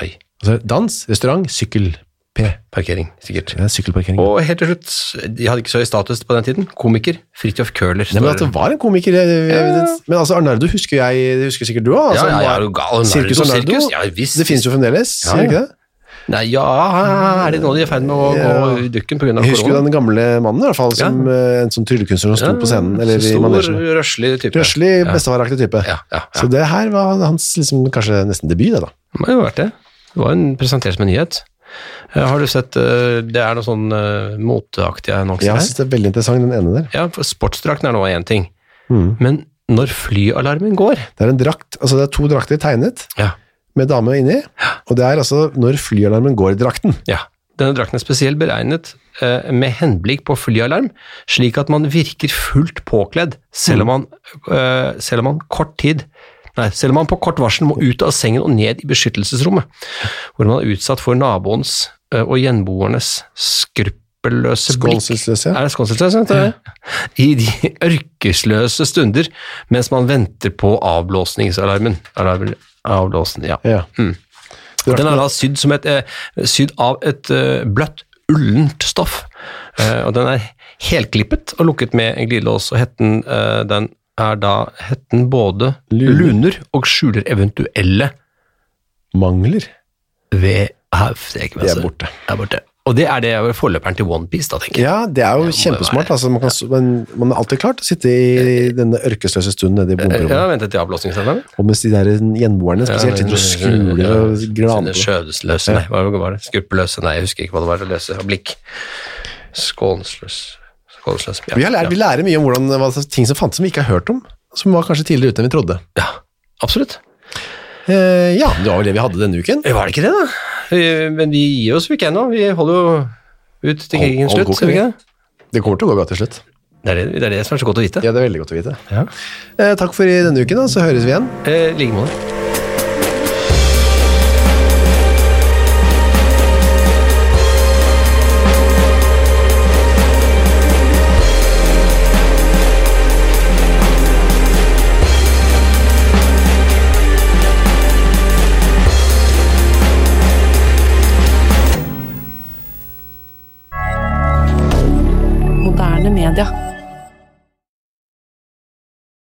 Speaker 1: Oi,
Speaker 2: Altså, dans, restaurant, sykkel. P.
Speaker 1: parkering, sikkert.
Speaker 2: Det er sykkelparkering.
Speaker 1: Og helt til slutt, de hadde ikke så høy status på den tiden, komiker Fridtjof Køhler.
Speaker 2: Nei, men at det var en komiker jeg, jeg, Men altså, Arnardo husker jeg, det husker sikkert du òg.
Speaker 1: Ja,
Speaker 2: Altså,
Speaker 1: ja,
Speaker 2: han
Speaker 1: ja,
Speaker 2: var-
Speaker 1: er du gal?
Speaker 2: Sirkus
Speaker 1: Arnardo,
Speaker 2: Arnardo.
Speaker 1: sirkus? Ja, visst.
Speaker 2: det finnes jo fremdeles,
Speaker 1: Ja,
Speaker 2: sier det ikke
Speaker 1: ja.
Speaker 2: det?
Speaker 1: Nei, ja, er det nå de er i ferd med å gå i dukken pga.
Speaker 2: Jeg husker jo
Speaker 1: korona?
Speaker 2: den gamle mannen, i hvert fall, som eh, en sånn tryllekunstner som sto på scenen, eller i manesjen.
Speaker 1: Stor, røslig type.
Speaker 2: Røslig, bestefaraktig type.
Speaker 1: Ja, ja, ja.
Speaker 2: Så det her var hans liksom, kanskje nesten debut, det da.
Speaker 1: Det må jo ha vært det. Det var en presentert som en nyhet. Eh, Har du sett, eh, det er noen sånn eh, moteaktige annonser
Speaker 2: Jeg
Speaker 1: her?
Speaker 2: synes det er veldig interessant, den ene der.
Speaker 1: Ja, for sportsdrakten er nå én ting.
Speaker 2: Mm.
Speaker 1: Men når flyalarmen går
Speaker 2: Det er en drakt, altså det er to drakter tegnet,
Speaker 1: ja.
Speaker 2: med dame inni, og det er altså når flyalarmen går i drakten.
Speaker 1: Ja. Denne drakten er spesielt beregnet eh, med henblikk på flyalarm, slik at man virker fullt påkledd, selv om man, eh, selv om man kort tid Nei, selv om man på kort varsel må ut av sengen og ned i beskyttelsesrommet, hvor man er utsatt for naboens eh, og gjenboernes skrupler hjelpeløse blikk.
Speaker 2: Skånselsløse, ja.
Speaker 1: Er det skånselsløse? vet du? I de ørkesløse stunder, mens man venter på avblåsningsalarmen. Alarm, avblåsen, ja.
Speaker 2: Ja. Mm.
Speaker 1: Den er da sydd, som et, eh, sydd av et eh, bløtt, ullent stoff. Eh, og den er helklippet og lukket med en glidelås. Og hetten, eh, den er da hetten både
Speaker 2: Luner.
Speaker 1: luner og skjuler eventuelle
Speaker 2: Mangler.
Speaker 1: ved Havstreken.
Speaker 2: Det er borte.
Speaker 1: Er borte. Og det er det er vel forløperen til Onepiece, da, tenker jeg.
Speaker 2: Ja, det er jo
Speaker 1: Det må det
Speaker 2: kjempesmart. Altså, man, kan, men, man har alltid klart å sitte i denne ørkesløse stunden nede i
Speaker 1: Ja,
Speaker 2: bomberommet.
Speaker 1: ventet til avblåsningsalarmen.
Speaker 2: Og mens de der gjenboerne spesielt sitter og skuler og
Speaker 1: Sine
Speaker 2: glaner.
Speaker 1: skjødesløse, nei, hva var det? Skruppløse, nei, jeg husker ikke hva det var. det Løse og blikk. Skånsløs. Skånsløs. Ja.
Speaker 2: Vi, har lært, vi lærer mye om hvordan, hva slags ting som fantes som vi ikke har hørt om, som var kanskje tidligere ute enn vi trodde.
Speaker 1: Ja. ja, absolutt.
Speaker 2: Eh, ja, det var vel det vi hadde denne uken.
Speaker 1: Eh, Var det ikke det, da? Eh, Men vi gir oss jo ikke ennå. Vi holder jo ut til
Speaker 2: Hold-
Speaker 1: krigen
Speaker 2: hold
Speaker 1: slutt,
Speaker 2: god
Speaker 1: skal vi ikke
Speaker 2: krig.
Speaker 1: det?
Speaker 2: Det kommer til å gå bra til slutt.
Speaker 1: Det er det, det er det som er så godt å vite.
Speaker 2: Ja, det er veldig godt å vite.
Speaker 1: Ja.
Speaker 2: Eh, takk for i denne uken, da, så høres vi igjen.
Speaker 1: Eh, I like måte.